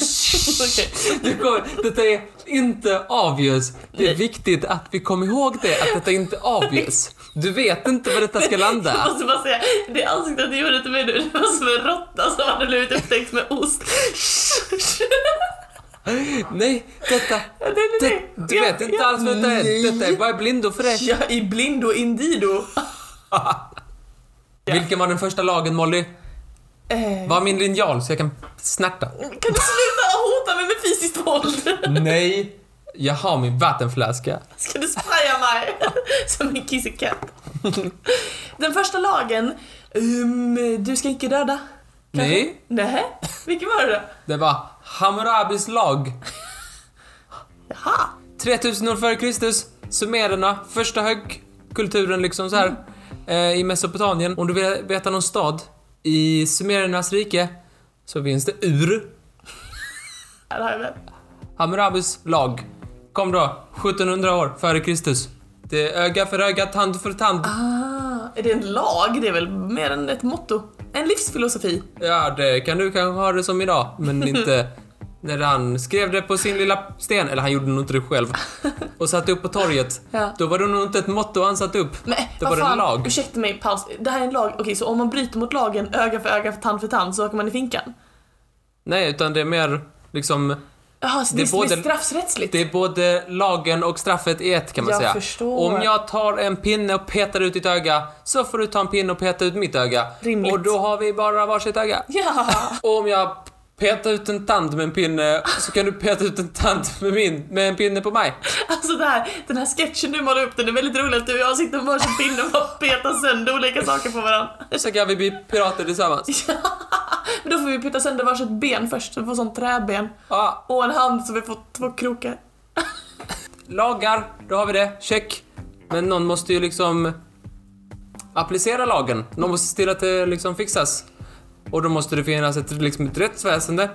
[SPEAKER 1] [laughs] du... du kommer, detta är inte obvious. Det är
[SPEAKER 2] Nej.
[SPEAKER 1] viktigt att vi kommer ihåg det, att detta är inte obvious. Du vet inte var detta ska
[SPEAKER 2] Jag
[SPEAKER 1] landa.
[SPEAKER 2] måste bara säga, det ansiktet du gjorde till mig nu, det var som en råtta som hade blivit upptäckt med ost.
[SPEAKER 1] Nej, detta...
[SPEAKER 2] Nej, nej, nej.
[SPEAKER 1] Det, du vet
[SPEAKER 2] Ja,
[SPEAKER 1] inte
[SPEAKER 2] ja.
[SPEAKER 1] alls vad detta är. Detta är bara blindo för dig.
[SPEAKER 2] Ja, i blindo indido. Ja.
[SPEAKER 1] Vilken var den första lagen, Molly?
[SPEAKER 2] Eh,
[SPEAKER 1] Var min linjal så jag kan snärta?
[SPEAKER 2] Kan du sluta hota mig med fysiskt våld?
[SPEAKER 1] Nej, jag har min vattenflaska.
[SPEAKER 2] Ska du spraya mig? Som en kissekatt. Den första lagen, ehm, du ska icke döda. Kanske?
[SPEAKER 1] Nej.
[SPEAKER 2] Nähä? Vilken var det då?
[SPEAKER 1] Det var Hammurabis lag.
[SPEAKER 2] Jaha.
[SPEAKER 1] 3000 år före Kristus, sumererna, första högkulturen liksom så här eh, i Mesopotamien. Om du vill veta någon stad i sumerernas rike så finns det Ur.
[SPEAKER 2] Ja, det har jag väl.
[SPEAKER 1] Hammurabis lag kom då 1700 år före Kristus. Det är öga för öga, tand för tand.
[SPEAKER 2] Ah, är det en lag? Det är väl mer än ett motto? En livsfilosofi?
[SPEAKER 1] Ja, det kan du kanske ha det som idag, men
[SPEAKER 2] [laughs]
[SPEAKER 1] inte när han skrev det på sin lilla sten, eller han gjorde nog inte det
[SPEAKER 2] [laughs]
[SPEAKER 1] själv, och satte upp på torget.
[SPEAKER 2] Ja.
[SPEAKER 1] Då var det nog inte ett motto han satte upp.
[SPEAKER 2] Men
[SPEAKER 1] Då
[SPEAKER 2] vad
[SPEAKER 1] var det en
[SPEAKER 2] fan,
[SPEAKER 1] lag.
[SPEAKER 2] ursäkta mig, paus. Det här är en lag, okej så om man bryter mot lagen öga för öga, för tand för tand så åker man i finkan?
[SPEAKER 1] Nej, utan det är mer liksom,
[SPEAKER 2] Jaha, så
[SPEAKER 1] Det
[SPEAKER 2] det,
[SPEAKER 1] är
[SPEAKER 2] är
[SPEAKER 1] både-
[SPEAKER 2] straffrättsligt?
[SPEAKER 1] det är både lagen och straffet i ett kan man
[SPEAKER 2] Jag
[SPEAKER 1] säga.
[SPEAKER 2] förstår.
[SPEAKER 1] Om jag tar en pinne och petar ut ditt öga, så får du ta en pinne och peta ut mitt öga.
[SPEAKER 2] Rimligt.
[SPEAKER 1] Och då har vi bara varsitt öga.
[SPEAKER 2] [laughs] Ja!
[SPEAKER 1] Och om jag petar ut en tand med en pinne, så kan du peta ut en tand med, min, med en pinne på mig.
[SPEAKER 2] Alltså det här, den här sketchen du målar upp, den är väldigt rolig att du och jag sitter med varsin pinne och bara petar sönder olika saker på varandra.
[SPEAKER 1] Så kan vi bli pirater tillsammans.
[SPEAKER 2] Men då får vi peta sönder varsitt ben först, så vi får sånt träben.
[SPEAKER 1] Ja,
[SPEAKER 2] Och en hand så vi får två krokar.
[SPEAKER 1] Lagar, då har vi det. Check. Men någon måste ju liksom applicera lagen. Någon måste se till att det liksom fixas. Och då måste det finnas ett, liksom ett rättsväsende.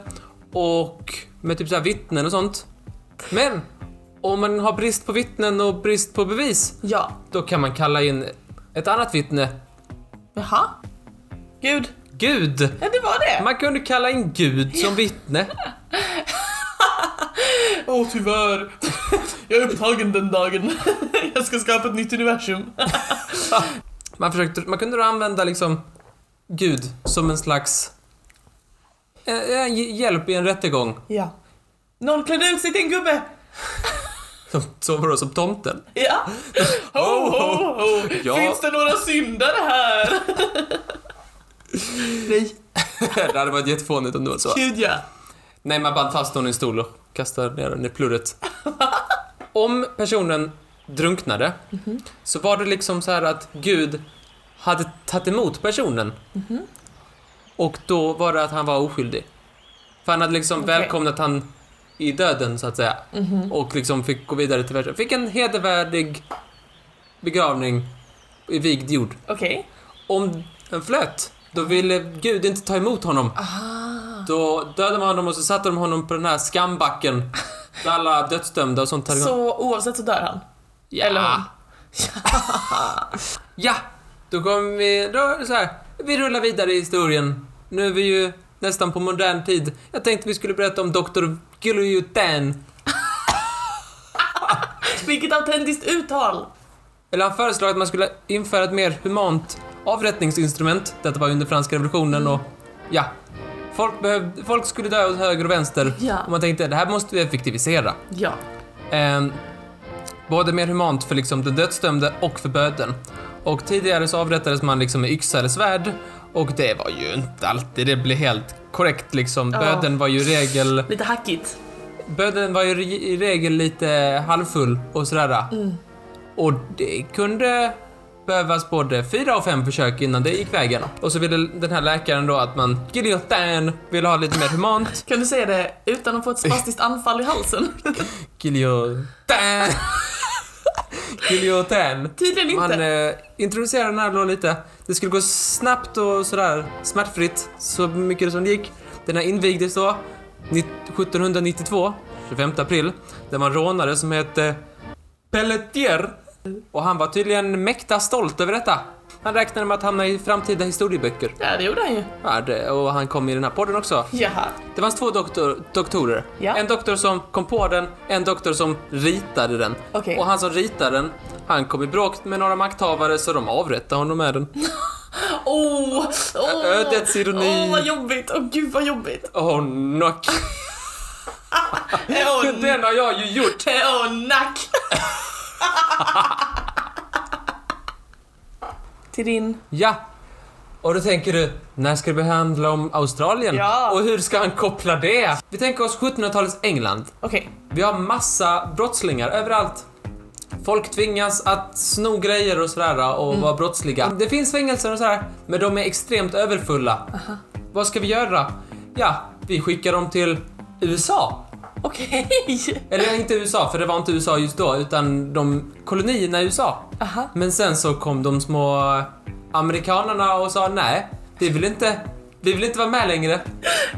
[SPEAKER 1] Och med typ så här vittnen och sånt. Men! Om man har brist på vittnen och brist på bevis,
[SPEAKER 2] Ja.
[SPEAKER 1] då kan man kalla in ett annat vittne.
[SPEAKER 2] Jaha? Gud.
[SPEAKER 1] Gud!
[SPEAKER 2] Ja, det var det.
[SPEAKER 1] Man kunde kalla in Gud som vittne.
[SPEAKER 2] Åh, tyvärr. Jag är upptagen den dagen. Jag ska skapa ett nytt universum.
[SPEAKER 1] Man, försökte, man kunde då använda liksom Gud som en slags en, en hjälp i en rättegång.
[SPEAKER 2] Ja. Någon klädde ut sig till en gubbe.
[SPEAKER 1] Som, som vadå, som tomten?
[SPEAKER 2] Ja. Ho, ho, ho.
[SPEAKER 1] Ja.
[SPEAKER 2] Finns det några syndare här? Nej.
[SPEAKER 1] [laughs] det hade varit jättefånigt om det var så.
[SPEAKER 2] Gud ja.
[SPEAKER 1] Nej, man band fast honom i en stol och kastade ner den i plurret. om personen drunknade så var det liksom så här att Gud hade tagit emot personen. Och då var det att han var oskyldig. För han hade liksom
[SPEAKER 2] Okej.
[SPEAKER 1] välkomnat han i döden så att säga. Och liksom fick gå vidare till världen. Fick en hedervärdig begravning i vigd jord.
[SPEAKER 2] Okej.
[SPEAKER 1] Om den flöt, då ville Gud inte ta emot honom.
[SPEAKER 2] Ah.
[SPEAKER 1] Då dödade man honom och så satte de honom på den här skambacken. Där alla dödsdömda och sånt hade gått.
[SPEAKER 2] Så oavsett så dör han?
[SPEAKER 1] Ja.
[SPEAKER 2] eller hon.
[SPEAKER 1] [laughs] ja! Då kommer vi... Då är det så här. Vi rullar vidare i historien. Nu är vi ju nästan på modern tid. Jag tänkte vi skulle berätta om Dr. Gulujutan.
[SPEAKER 2] Vilket autentiskt uttal!
[SPEAKER 1] Eller han föreslog att man skulle införa ett mer humant avrättningsinstrument. Detta var under franska revolutionen och
[SPEAKER 2] Mm.
[SPEAKER 1] ja. Folk, behövde, folk skulle dö åt höger och vänster.
[SPEAKER 2] Ja.
[SPEAKER 1] Och man tänkte det här måste vi effektivisera.
[SPEAKER 2] Ja.
[SPEAKER 1] Ehm, både mer humant för liksom den dödsdömde och för böden. Och tidigare så avrättades man liksom med yxa eller svärd. Och det var ju inte alltid det blev helt korrekt liksom.
[SPEAKER 2] Ja.
[SPEAKER 1] Böden var ju i regel...
[SPEAKER 2] Lite hackigt.
[SPEAKER 1] Böden var ju re- i regel lite halvfull och sådär. Och det kunde behövas både fyra och fem försök innan det gick vägen. Och så ville den här läkaren då att man, giljotin, ville ha lite mer humant.
[SPEAKER 2] Kan du säga det utan att få ett spastiskt anfall i halsen? [laughs]
[SPEAKER 1] Giljotin. [laughs] Giljotin.
[SPEAKER 2] Tydligen inte.
[SPEAKER 1] Man eh, introducerade den här då lite. Det skulle gå snabbt och sådär smärtfritt, så mycket som det gick. Den här invigdes då ni- 1792, 25 april. Det var en rånare som hette Pelletier. Och han var tydligen mäkta stolt över detta. Han räknade med att hamna i framtida historieböcker.
[SPEAKER 2] Ja, det gjorde han ju.
[SPEAKER 1] Ja, det, och han kom i den här podden också.
[SPEAKER 2] Jaha.
[SPEAKER 1] Det fanns två doktor, doktorer.
[SPEAKER 2] Ja.
[SPEAKER 1] En doktor som kom på den, en doktor som ritade den.
[SPEAKER 2] Okej.
[SPEAKER 1] Och han som ritade den, han kom i bråk med några makthavare så de avrättade honom med den.
[SPEAKER 2] Åh! åh,
[SPEAKER 1] Ödets ironi.
[SPEAKER 2] Åh, vad jobbigt! Åh, gud vad jobbigt!
[SPEAKER 1] Åh, oh, nack.
[SPEAKER 2] Åh,
[SPEAKER 1] [laughs] Den har jag ju gjort!
[SPEAKER 2] åh, nack! Till din...
[SPEAKER 1] Ja! Och då tänker du, när ska det handla om Australien?
[SPEAKER 2] Ja.
[SPEAKER 1] Och hur ska han koppla det? Vi tänker oss 1700-talets England.
[SPEAKER 2] Okej.
[SPEAKER 1] Vi har massa brottslingar överallt. Folk tvingas att sno grejer och sådär och vara brottsliga. Det finns fängelser och sådär, men de är extremt överfulla. Vad ska vi göra? Ja, vi skickar dem till USA.
[SPEAKER 2] Okej!
[SPEAKER 1] Eller inte USA, för det var inte USA just då, utan de kolonierna i USA.
[SPEAKER 2] Aha.
[SPEAKER 1] Men sen så kom de små amerikanerna och sa nej, vi vill inte, vi vill inte vara med längre.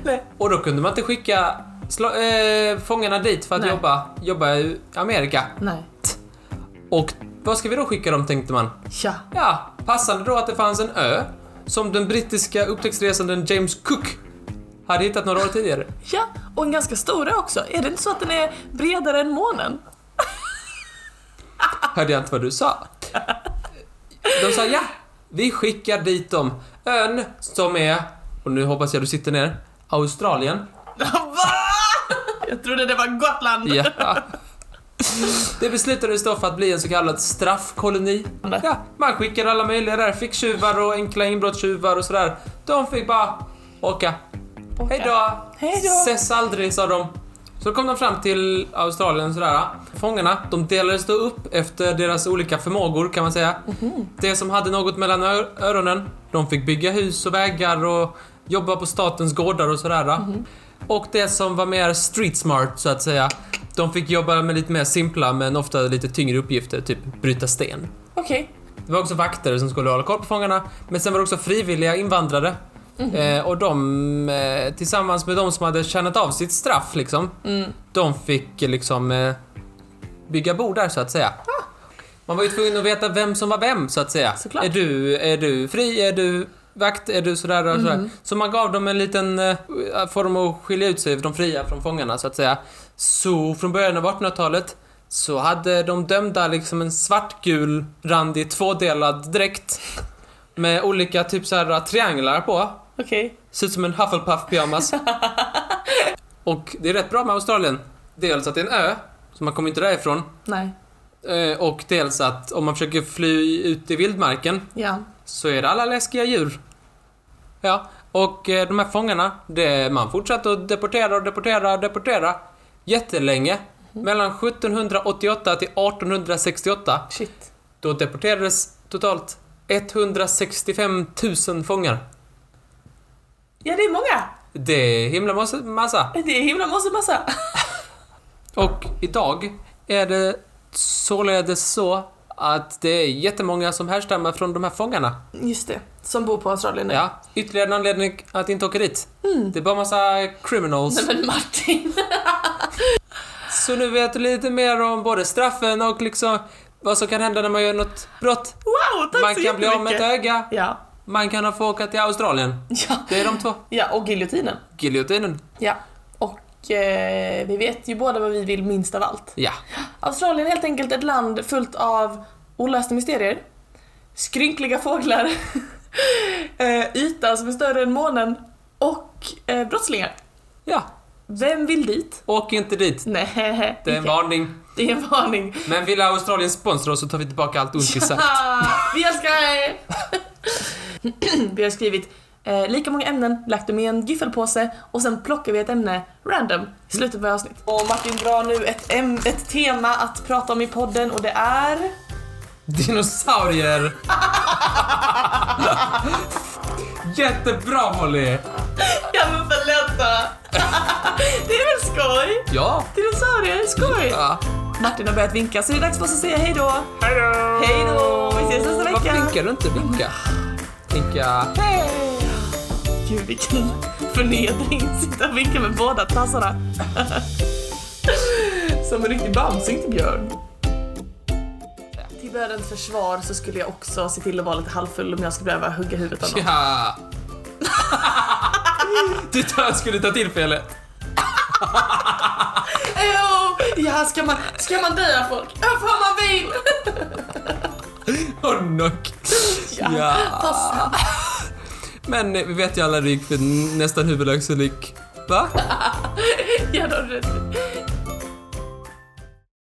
[SPEAKER 2] Nej.
[SPEAKER 1] Och då kunde man inte skicka sla- eh, fångarna dit för att
[SPEAKER 2] Nej.
[SPEAKER 1] jobba, jobba i Amerika.
[SPEAKER 2] Nej.
[SPEAKER 1] Och vad ska vi då skicka dem tänkte man?
[SPEAKER 2] Ja.
[SPEAKER 1] Ja, passande då att det fanns en ö som den brittiska upptäcktsresanden James Cook hade hittat några år tidigare.
[SPEAKER 2] Ja, och en ganska stor ö också. Är det inte så att den är bredare än [laughs] månen?
[SPEAKER 1] Hörde jag inte vad du sa? De sa ja, vi skickar dit dem. Ön som är, och nu hoppas jag du sitter ner, Australien.
[SPEAKER 2] Va? Jag trodde det var Gotland!
[SPEAKER 1] Ja. Det beslutades då för att bli en så kallad straffkoloni. Ja, man skickade alla möjliga där, fick tjuvar och enkla inbrottstjuvar och sådär. De fick bara åka.
[SPEAKER 2] Åka.
[SPEAKER 1] Hej då!
[SPEAKER 2] Hej då.
[SPEAKER 1] Ses aldrig, sa de. Så kom de fram till Australien sådär. Fångarna, de delades då upp efter deras olika förmågor kan man säga.
[SPEAKER 2] Mhm.
[SPEAKER 1] Det som hade något mellan ö- öronen, de fick bygga hus och vägar och jobba på statens gårdar och sådär.
[SPEAKER 2] Mhm.
[SPEAKER 1] Och det som var mer street smart så att säga, de fick jobba med lite mer simpla men ofta lite tyngre uppgifter, typ bryta sten.
[SPEAKER 2] Okej.
[SPEAKER 1] Det var också vakter som skulle hålla koll på fångarna, men sen var det också frivilliga invandrare. Eh, och de, eh, tillsammans med de som hade tjänat av sitt straff, liksom, de fick eh, liksom eh, bygga bo där så att säga. Man var ju tvungen att veta vem som var vem så att säga.
[SPEAKER 2] Såklart.
[SPEAKER 1] Är du, är du fri? Är du vakt? Är du sådär och sådär? Så man gav dem en liten eh, form att skilja ut sig, de fria från fångarna så att säga. Så från början av 1800-talet så hade de dömda liksom en svartgul randig tvådelad dräkt med olika typ såhär trianglar på.
[SPEAKER 2] Okej.
[SPEAKER 1] Ser ut som en Hufflepuff-pyjamas. och det är rätt bra med Australien. Dels att det är en ö, så man kommer inte därifrån.
[SPEAKER 2] Nej.
[SPEAKER 1] Eh, Och dels att om man försöker fly ut i vildmarken
[SPEAKER 2] Ja.
[SPEAKER 1] så är det alla läskiga djur. Ja, och eh, de här fångarna, det, man fortsatte att deportera och deportera och deportera jättelänge. Mellan 1788 till 1868,
[SPEAKER 2] Shit.
[SPEAKER 1] då deporterades totalt 165 000 fångar.
[SPEAKER 2] Ja, det är många!
[SPEAKER 1] Det är himla massa- massa.
[SPEAKER 2] Det är himla massa massa.
[SPEAKER 1] Och idag är det således så att det är jättemånga som härstammar från de här fångarna.
[SPEAKER 2] Just det. Som bor på Australien nu.
[SPEAKER 1] Ja, ytterligare en anledning att inte åka dit. Det är bara massa criminals.
[SPEAKER 2] Mm. Nej men Martin!
[SPEAKER 1] Så nu vet du lite mer om både straffen och liksom vad som kan hända när man gör något brott.
[SPEAKER 2] Wow, tack
[SPEAKER 1] Man
[SPEAKER 2] så
[SPEAKER 1] kan bli av med ett
[SPEAKER 2] jättemycket.
[SPEAKER 1] öga,
[SPEAKER 2] Ja.
[SPEAKER 1] man kan få åka till Australien.
[SPEAKER 2] Ja.
[SPEAKER 1] Det är de två.
[SPEAKER 2] ja, och giljotinen.
[SPEAKER 1] Giljotinen.
[SPEAKER 2] Ja. Och eh, vi vet ju båda vad vi vill minst av allt.
[SPEAKER 1] Ja.
[SPEAKER 2] Australien är helt enkelt ett land fullt av olösta mysterier, skrynkliga fåglar, [laughs] eh, ytan som är större än månen och eh, brottslingar.
[SPEAKER 1] Ja.
[SPEAKER 2] Vem vill dit?
[SPEAKER 1] Åk inte dit.
[SPEAKER 2] Nej,
[SPEAKER 1] Det är en varning.
[SPEAKER 2] [laughs] det är en varning.
[SPEAKER 1] Men vill Australien sponsra oss så tar vi tillbaka allt ont vi sagt.
[SPEAKER 2] [laughs] Vi älskar er! [clears throat] vi har skrivit eh, lika många ämnen, lagt dem i en giffelpåse och sen plockar vi ett ämne random i slutet av varje avsnitt. Och Martin drar nu ett, äm- ett tema att prata om i podden och det är...
[SPEAKER 1] Dinosaurier! Jättebra Molly!
[SPEAKER 2] Ja men förlåta! [laughs] Det är väl skoj?
[SPEAKER 1] Ja!
[SPEAKER 2] Dinosaurier, skoj!
[SPEAKER 1] ja.
[SPEAKER 2] Martin har börjat vinka så det är dags för oss att säga hej då.
[SPEAKER 1] Hejdå!
[SPEAKER 2] Hej då, vi ses nästa
[SPEAKER 1] Varför
[SPEAKER 2] vecka!
[SPEAKER 1] vinkar du inte? Vinka! Vinka!
[SPEAKER 2] Hej! Gud vilken förnedring, sitta och vinka med båda tassarna. Som en riktig bamsing till Björn. till dödens försvar så skulle jag också se till att vara lite halvfull om jag skulle behöva hugga huvudet av någon.
[SPEAKER 1] Ja. du tar, skulle ta tillfället.
[SPEAKER 2] Ew! Ja, ska man, ska man döda folk? Ja, fan man vill!
[SPEAKER 1] Och knock.
[SPEAKER 2] Ja, fastna.
[SPEAKER 1] Men eh, vi vet ju alla lik för nästan huvudlökselik. Va?
[SPEAKER 2] Ja, då,